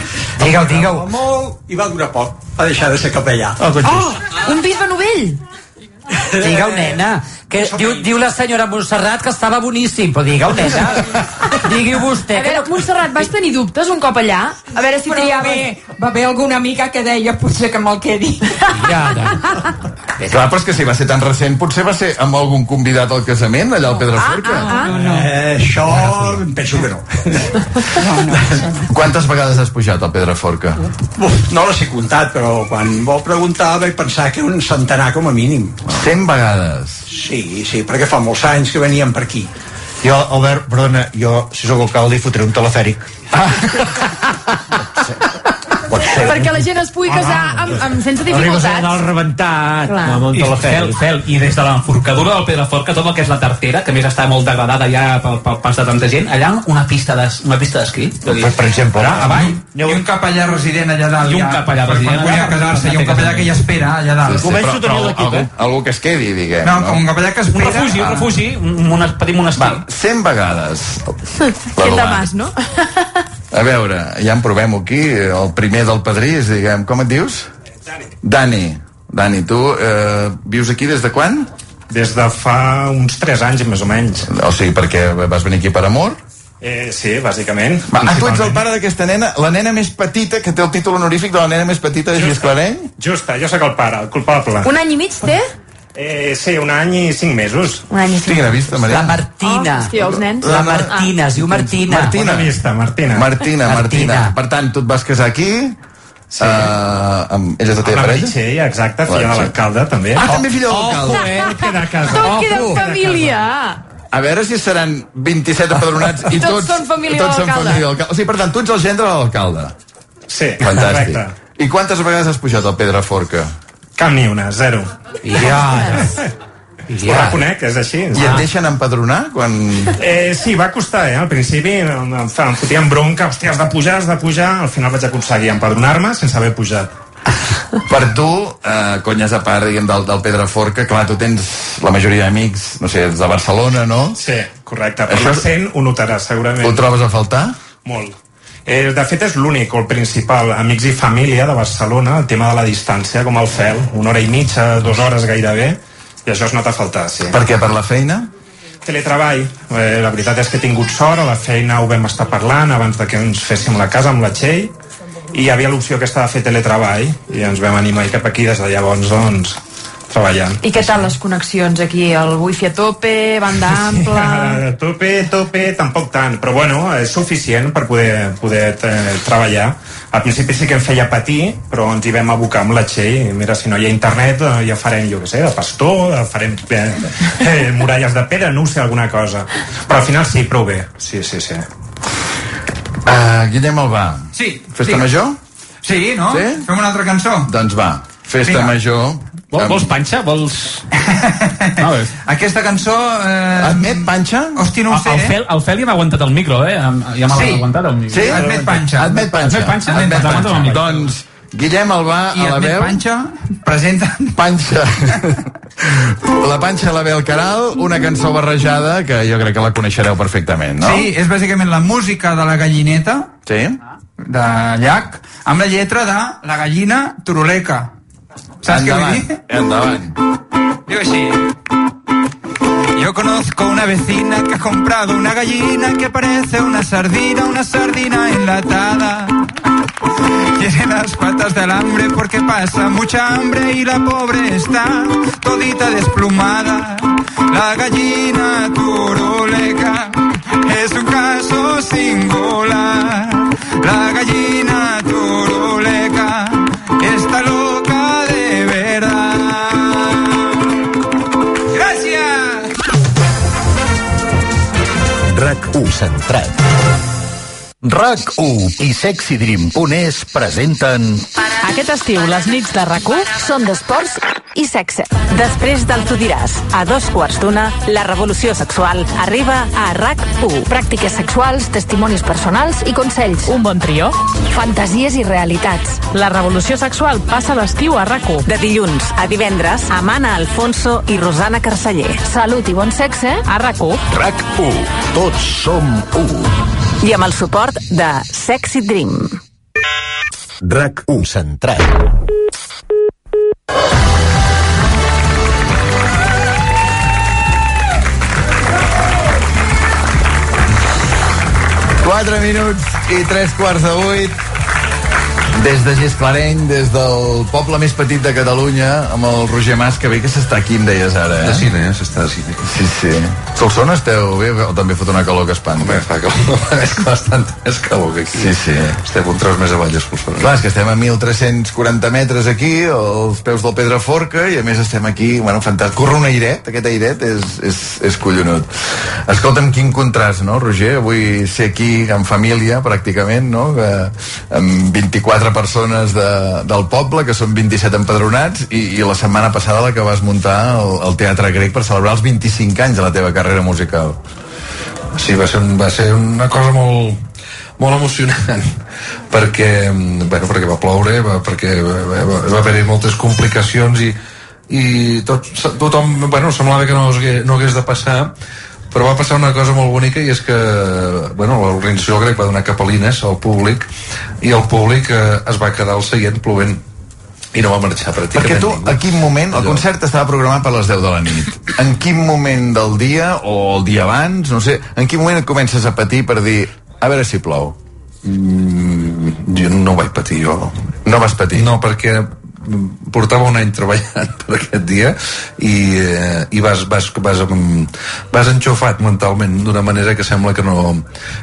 V: Digue-ho, digue-ho. Molt, i va durar poc, va deixar de ser capellà.
K: Ah, doncs
V: Ah!
Q: Oh,
N: un bisbe novell!
O: Eh.
Q: Digue-ho, nena. Que diu, diu la senyora Montserrat que estava boníssim, però digue-ho, nena. Digui-ho vostè.
N: A veure, Montserrat, vas tenir dubtes un cop allà? A veure si
W: Però va
N: triaves...
W: haver, va haver alguna amiga que deia potser que me'l quedi.
K: Clar, però és que si va ser tan recent, potser va ser amb algun convidat al casament, allà al Pedraforca?
V: Ah, no. Eh, això em penso que no.
K: Quantes vegades has pujat al Pedraforca?
V: Uf, no les he comptat, però quan vau preguntar vaig pensar que un centenar com a mínim.
K: 100 vegades?
V: Sí, sí, perquè fa molts anys que veníem per aquí.
X: Jo, Albert, perdona, jo, si sóc alcalde, hi fotré un telefèric.
N: Perquè la gent es
Q: Ah,
N: pugui casar amb,
Q: doncs.
N: amb, sense dificultats.
R: rebentat
N: Clar. amb un
R: I, fel,
N: telefèric.
R: fel, i des de l'enforcadura del Pedraforca tot el que és la tercera que a més està molt degradada ja pel, pel pas de tanta gent allà una pista de, una pista d'esquí per, per exemple allà, avall,
P: I un capellà resident allà dalt.
R: I un
P: ja,
R: capellà
P: per
R: resident
P: Quan vulgui
R: allà,
P: casar-se,
R: per
P: hi ha un capellà que ja espera allà dalt.
K: però- però algú, algú que es quedi, diguem.
P: eh? No, com un capellà que
R: un
P: espera...
R: refugi, un refugi un, un petit monestir
K: Va, 100 vegades.
N: Que tamàs, no?
K: A veure, ja en provem aquí, el primer del Pedrís, diguem, com et dius? Dani. Dani, Dani tu eh, vius aquí des de quan?
X: Des de fa uns 3 anys, més o menys.
K: O sigui, perquè vas venir aquí per amor?
X: Eh, sí, bàsicament.
K: Va, ah, tu ets el pare d'aquesta nena, la nena més petita, que té el títol honorífic de la nena més petita de Gisclareny?
X: Justa, jo sóc el pare, el culpable.
N: Un any i mig té?
X: Eh, sí, un any i cinc mesos.
N: Un any i cinc
K: Tinc vista, Maria.
X: La
Q: Martina.
N: Oh, hòstia, els nens.
Q: La Martina, es diu
N: Ah.
Q: Martina.
K: Martina.
Q: Bona
X: vista, Martina.
K: Martina, Martina.
Q: Martina.
K: Per tant, tu et vas casar aquí... Sí. Uh, amb, ella és la teva
X: Amb la
K: parella?
X: Meritxell, exacte, filla de l'alcalde, també.
K: Ah, també filla de l'alcalde.
X: Eh? Ojo, eh, queda a casa.
N: Tot queda en família!
K: A veure si seran 27 empadronats i
N: Tots
K: tots,
N: són família
K: tots són
N: d'alcalde.
K: família d'alcalde. O sigui, per tant, tu ets el gendre de l'alcalde.
X: Sí,
K: Fantàstic.
X: correcte.
K: I quantes vegades has pujat al Pedraforca?
X: Cap ni una, zero. Ho reconec, és així.
K: I et deixen empadronar quan...
X: Eh, sí, va costar, eh? Al principi em, em, fa- em fotien bronca, hòstia, has de pujar, has de pujar... Al final vaig aconseguir empadronar-me sense haver pujat.
K: Per tu, eh, conyes a part, diguem, del, del Pedraforca, clar, tu tens la majoria d'amics, no sé, ets de Barcelona, no?
X: Sí, correcte. Per Això...
K: Això-
X: l'accent ho notaràs, segurament.
K: Ho trobes a faltar?
X: Molt. Eh, de fet, és l'únic o el principal. Amics i família de Barcelona, el tema de la distància, com el fel, una hora i mitja, dues hores gairebé, i això es nota a faltar, sí.
K: Per què? Per la feina?
X: Teletreball. Eh, la veritat és que he tingut sort, a la feina ho vam estar parlant abans de que ens féssim la casa amb la Txell i hi havia l'opció aquesta de fer teletreball i ens vam animar cap aquí des de llavors doncs, treballant.
N: I què tal les connexions aquí? El wifi a tope, banda ampla...
X: A Eh, tope, tope, tampoc tant, però bueno, és suficient per poder, poder eh, treballar. Al principi sí que em feia patir, però ens hi vam abocar amb la Txell. i Mira, si no hi ha internet, eh, ja farem, jo què sé, de pastor, eh, farem eh, eh, muralles de pedra, no ho sé, alguna cosa. Però al final sí, prou bé. Sí, sí, sí.
K: Uh, Guillem Albà.
X: Sí.
K: Festa
X: digues.
K: major?
X: Sí,
K: no?
X: Fem una altra cançó?
K: Doncs va, festa
T: Vinga.
K: major...
T: Vol- vols
K: panxa? Vols...
T: Aquesta cançó... Eh...
K: Admet panxa?
T: Hosti, no ho sé,
R: El,
T: eh?
R: Fel, el Feli m'ha aguantat el micro, eh? Em- Ja m'ha
K: Sí.
R: aguantat el micro.
K: Sí? Admet panxa. Admet panxa.
R: Admet panxa.
K: Admet
R: Admet
K: panxa.
R: panxa.
K: Doncs Guillem Albà
T: I
K: a la
T: Admet
K: veu...
T: Panxa presenta...
K: Panxa. la panxa a la veu Caral, una cançó barrejada que jo crec que la coneixereu perfectament, no?
T: Sí, és bàsicament la música de la gallineta
K: Sí?
T: de Llach amb la lletra de la gallina turuleca. Saps què vull dir?
K: Endavant.
T: Digo así. Yo conozco una vecina que ha comprado una gallina que parece una sardina, una sardina enlatada. Tiene las patas de alambre porque pasa mucha hambre y la pobre está todita desplumada. La gallina turuleca es un caso singular. La gallina turuleca está loca de verdad. ¡Gracias!
A: RAC 1 centrat. RAC 1 i sexydream.es presenten
L: Aquest estiu, les nits de rac són d'esports i sexe. Després del Tu diràs, a dos quarts d'una, la revolució sexual arriba a RAC1. Pràctiques sexuals, testimonis personals i consells. Un bon trio. Fantasies i realitats. La revolució sexual passa l'estiu a RAC1. De dilluns a divendres, amb Anna Alfonso i Rosana Carceller.
M: Salut i bon sexe.
L: A RAC1.
A: RAC 1. Tots som 1.
L: I amb el suport de Sexy Dream.
A: RAC 1 centrat.
K: Quatre minuts i tres quarts de vuit. Des de Gisclareny, des del poble més petit de Catalunya, amb el Roger Mas, que bé que s'està aquí, em deies ara, eh?
S: De cine, eh? S'està de cine.
K: Sí, sí. Solsona esteu bé o també fot una calor que espanta? Home,
S: fa calor, és bastant més calor que aquí.
K: Sí, sí.
S: Estem un tros més avall a Solsona.
K: Clar, és que estem a 1.340 metres aquí, als peus del Pedraforca, i a més estem aquí, bueno, fantàstic. Corre un airet, aquest airet és, és, és collonut. Escolta'm, quin contrast, no, Roger? Avui ser aquí en família, pràcticament, no? Que, amb 24 persones de, del poble, que són 27 empadronats, i, i la setmana passada la que vas muntar al, al Teatre Grec per celebrar els 25 anys de la teva carrera musical.
S: Sí, va ser, un, va ser una cosa molt, molt emocionant perquè, mm, bueno, perquè va ploure va, perquè va, va, va haver-hi moltes complicacions i, i tot, tothom, bueno, semblava que no, hagués- no hagués de passar però va passar una cosa molt bonica i és que bueno, l'organització grec va donar capelines al públic i el públic eh, es va quedar al seient plovent i no va marxar pràcticament
K: Perquè tu,
S: ningú.
K: a quin moment, el
S: Allò.
K: concert estava programat per les 10 de la nit. En quin moment del dia, o el dia abans, no sé, en quin moment et comences a patir per dir, a veure si plou?
S: Mm, jo no vaig patir jo.
K: No vas patir?
S: No, perquè mm, portava un any treballant per aquest dia i, eh, i vas, vas, vas, mm, vas enxufat mentalment d'una manera que sembla que no,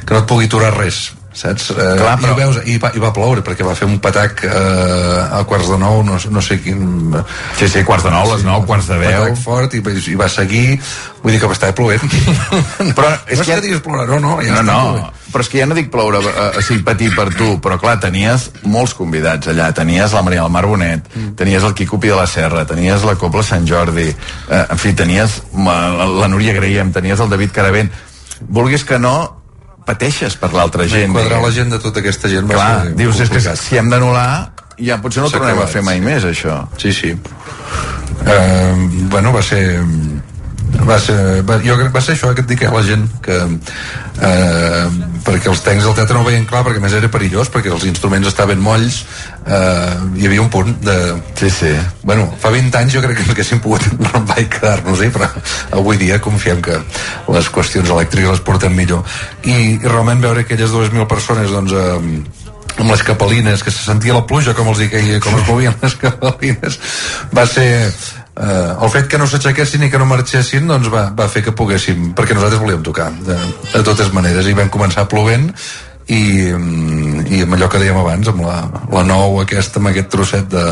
S: que no et pugui aturar res saps? Eh,
K: Clar,
S: i, ho veus, i, va, i va ploure perquè va fer un patac eh, a quarts de nou no, no sé quin
K: sí, sí, quarts de nou, les nou, quarts de deu.
S: patac fort i, i va seguir vull dir que va estar plovent
K: però és que, ja...
S: diguis ploure, no, no, eh. ja
K: no,
S: està
K: no.
S: plovent.
K: però és que ja no dic ploure, eh, o sigui, patir per tu, però clar, tenies molts convidats allà, tenies la Maria del Mar Bonet,
S: Mm.
K: tenies el Quico Pi de la Serra, tenies la Copla Sant Jordi, eh, en fi, tenies ma- la, la Núria Graiem, tenies el David Caravent, vulguis que no, pateixes per l'altra gent.
S: quadrar la
K: diguem.
S: gent de tota aquesta gent va
K: Clar,
S: ser
K: dius, és que
S: complicat.
K: si hem d'anul·lar, ja potser no
S: S'ha
K: tornem a
S: acabat,
K: fer mai més, això.
S: Sí, sí. Eh, bueno, va ser va ser, va, jo crec que va ser això que et dic a la gent que, eh, perquè els tècnics del teatre no ho veien clar perquè a més era perillós perquè els instruments estaven molls eh, hi havia un punt de...
K: Sí, sí.
S: Bueno, fa 20 anys jo crec que ens haguéssim pogut enrampar i quedar-nos hi però avui dia confiem que les qüestions elèctriques les porten millor i, i realment veure aquelles 2.000 persones doncs, eh, amb les capelines, que se sentia la pluja com els hi caia, com es movien les capelines va ser eh, el fet que no s'aixequessin i que no marxessin doncs va, va fer que poguéssim, perquè nosaltres volíem tocar de, de totes maneres i vam començar plovent i, mm, i amb allò que dèiem abans amb la, la nou aquesta, amb aquest trosset de,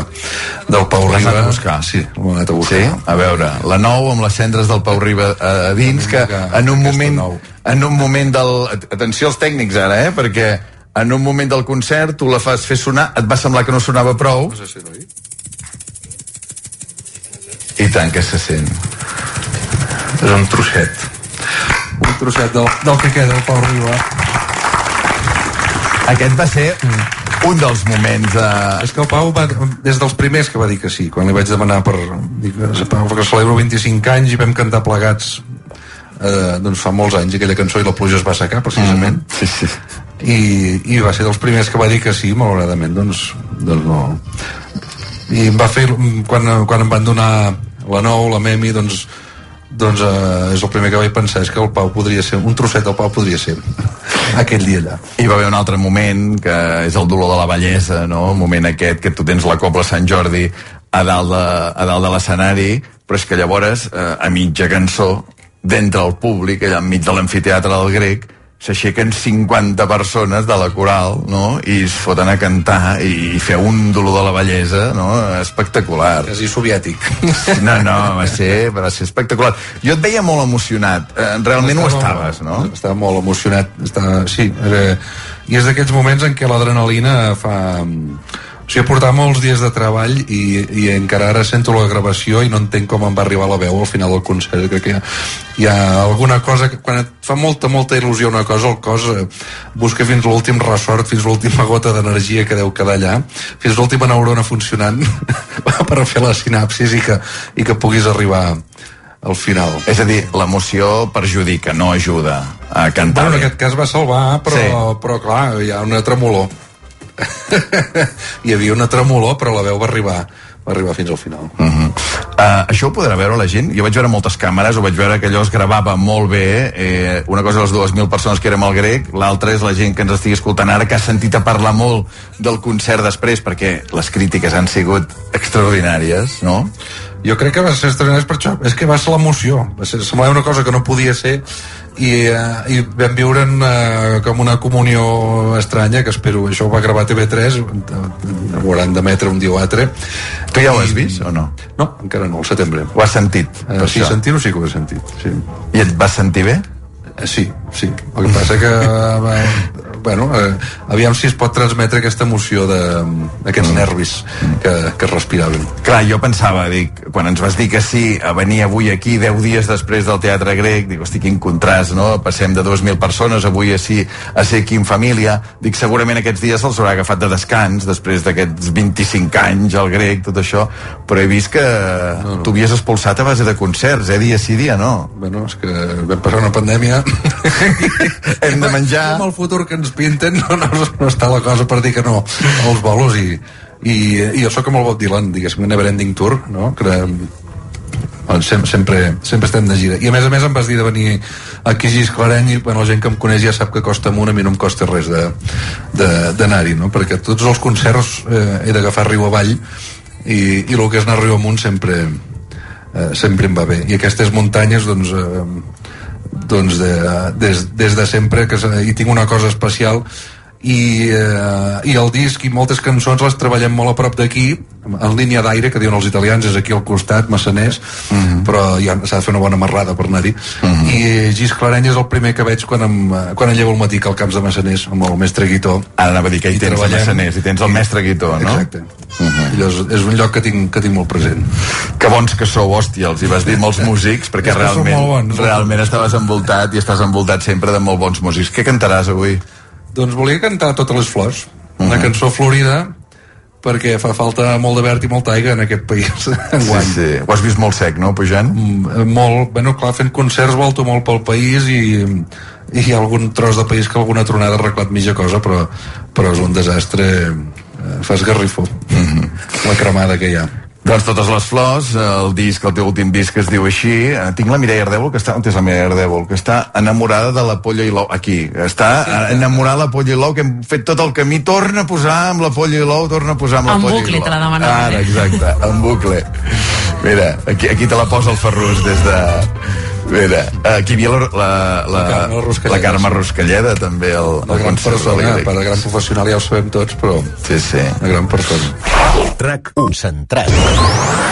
S: del Pau
K: L'has
S: Riba
K: anat a buscar.
S: sí, l'he anat a buscar
K: Sí? A veure, la nou amb les cendres del Pau Riba a, a dins, que en un moment, en un moment del... Atenció als tècnics ara, eh? Perquè en un moment del concert tu la fas fer sonar, et va semblar que no sonava prou. I tant que se sent.
S: és un trosset un trosset del, del que queda el Pau Riba
K: aquest va ser un dels moments eh, de...
S: Mm. És que el Pau va, des dels primers que va dir que sí, quan li vaig demanar per... Dic, Pau, que celebro 25 anys i vam cantar plegats eh, doncs fa molts anys aquella cançó i la pluja es va secar, precisament. Mm,
K: sí, sí.
S: I, I va ser dels primers que va dir que sí, malauradament, doncs, doncs no... I em va fer... Quan, quan em van donar la nou, la Memi, doncs, doncs eh, és el primer que vaig pensar és que el Pau podria ser, un trosset del Pau podria ser aquell dia allà
K: Hi va haver un altre moment, que és el dolor de la bellesa, no? El moment aquest que tu tens la Cobla Sant Jordi a dalt de, a dalt de l'escenari, però és que llavores, eh, a mitja cançó, d'entre el públic, allà enmig de l'amfiteatre del grec, s'aixequen 50 persones de la coral, no?, i es foten a cantar i, i fer un dolor de la bellesa, no?, espectacular.
S: Quasi soviètic.
K: No, no, va ser, va ser espectacular. Jo et veia molt emocionat, eh, realment ho
S: Estava-
K: estaves, no?
S: Estava molt emocionat. Estava, sí, era, i és d'aquests moments en què l'adrenalina fa... mm, O sigui, portar molts dies de treball i, i encara ara sento la gravació i no entenc com em va arribar la veu al final del concert. Crec que hi ha, hi ha alguna cosa... Que, quan et fa molta, molta il·lusió una cosa, el cos eh, busca fins l'últim ressort, fins l'última gota d'energia que deu quedar allà, fins l'última neurona funcionant per fer les sinapsis i que, i que puguis arribar al final.
K: És a dir, l'emoció perjudica, no ajuda a cantar
S: Bueno, en
K: bé.
S: aquest cas va salvar, però, sí. però clar, hi ha una tremolor. hi havia una tremolor, però la veu va arribar, va arribar fins al final.
K: Uh -huh. uh, això ho podrà veure la gent? Jo vaig veure moltes càmeres, ho vaig veure que allò es gravava molt bé. Eh, una cosa les 2.000 persones que érem al grec, l'altra és la gent que ens estigui escoltant ara, que ha sentit a parlar molt del concert després, perquè les crítiques han sigut extraordinàries, no?
S: Jo crec que va ser extraordinari per això. És que va ser l'emoció. Va ser, semblava una cosa que no podia ser i, eh, i vam viure en, eh, com una comunió estranya que espero, això ho va gravar TV3 eh, ho hauran d'emetre un dia o altre
K: Tu ja ho has vist o no?
S: No, encara no, al setembre
K: Ho has sentit?
S: Eh,
K: per
S: sí,
K: això?
S: sentir-ho sí que ho he sentit sí. Eh,
K: I et vas sentir bé?
S: Sí, sí. El que passa que... eh, bueno, eh, aviam si es pot transmetre aquesta emoció de- d'aquests nervis que, que es respiraven.
K: Mm. Clar, jo pensava, dic, quan ens vas dir que sí a venir avui aquí 10 dies després del Teatre Grec, dic, hosti, quin contrast, no? Passem de 2.000 persones avui a, sí, a ser aquí en família. Dic, segurament aquests dies se'ls haurà agafat de descans després d'aquests 25 anys al Grec, tot això, però he vist que no, no. tu havies expulsat a base de concerts, eh? Dia sí, dia no.
S: Bueno, és que vam passar una pandèmia...
K: Hem de menjar...
S: Amb el futur que ens pinten no, no, no està la cosa per dir que no als bolos i, i, i jo sóc com el Bob Dylan, diguéssim, un never ending tour, no? Que, Bueno, sempre, sempre, sempre estem de gira i a més a més em vas dir de venir aquí a Gisclareny i bueno, la gent que em coneix ja sap que costa amunt a mi no em costa res de- de- d'anar-hi no? perquè tots els concerts eh, he d'agafar riu avall i, i el que és anar riu amunt sempre eh, sempre em va bé i aquestes muntanyes doncs, eh, doncs de, des, des de sempre que se- hi tinc una cosa especial i, eh, i el disc i moltes cançons les treballem molt a prop d'aquí en línia d'aire, que diuen els italians és aquí al costat, Massaners
K: Mhm.
S: però ja s'ha de fer una bona marrada per anar-hi i Gis Clareny és el primer que veig quan em, eh, quan em llevo al matí que al Camps de Massaners amb el mestre Guitó
K: Ara Ah, anava a dir que hi
S: I
K: tens el
S: treballem.
K: Massaners, hi tens el mestre Guitó, no? Mhm.
S: Exacte. Allò és, és un lloc que tinc, que tinc molt present.
K: Que bons que sou, hòstia, els hi vas dir molts músics, perquè
S: És que som
K: realment,
S: molt bons. eh?
K: realment estaves envoltat i estàs envoltat sempre de molt bons músics. Què cantaràs avui? Mhm.
S: Doncs volia cantar Totes les flors, una cançó florida perquè fa falta molt de verd i molta aigua en aquest país enguany.
K: Sí, sí. Ho has vist molt sec, no, pujant?
S: Eh, molt, bueno, clar, fent concerts volto molt pel país i, i hi ha algun tros de país que alguna tronada ha arreglat mitja cosa, però,
K: Mhm.
S: però és un desastre eh, fa esgarrifó mm -hmm. la cremada que hi ha
K: Doncs totes les flors, el disc, el teu últim disc que es diu així, eh, tinc la Mireia Ardèvol que està, on és la Mireia Ardèvol? Que està enamorada de la polla i l'ou, aquí, està eh, enamorada de la polla i l'ou, que hem fet tot el camí, torna a posar amb la polla i l'ou, torna a posar amb la
D: En
K: polla
D: bucle,
K: i l'ou.
D: te la eh? demanava.
K: Ara, exacte, en bucle. Mira, aquí, aquí te la posa el Ferrus des de... Mira, aquí hi havia la, la, la, la Carme Ruscalleda, també, el,
S: Una gran persona, per gran professional ja ho sabem tots, però...
K: Sí, sí.
S: Una gran persona.
A: RAC 1 centrat.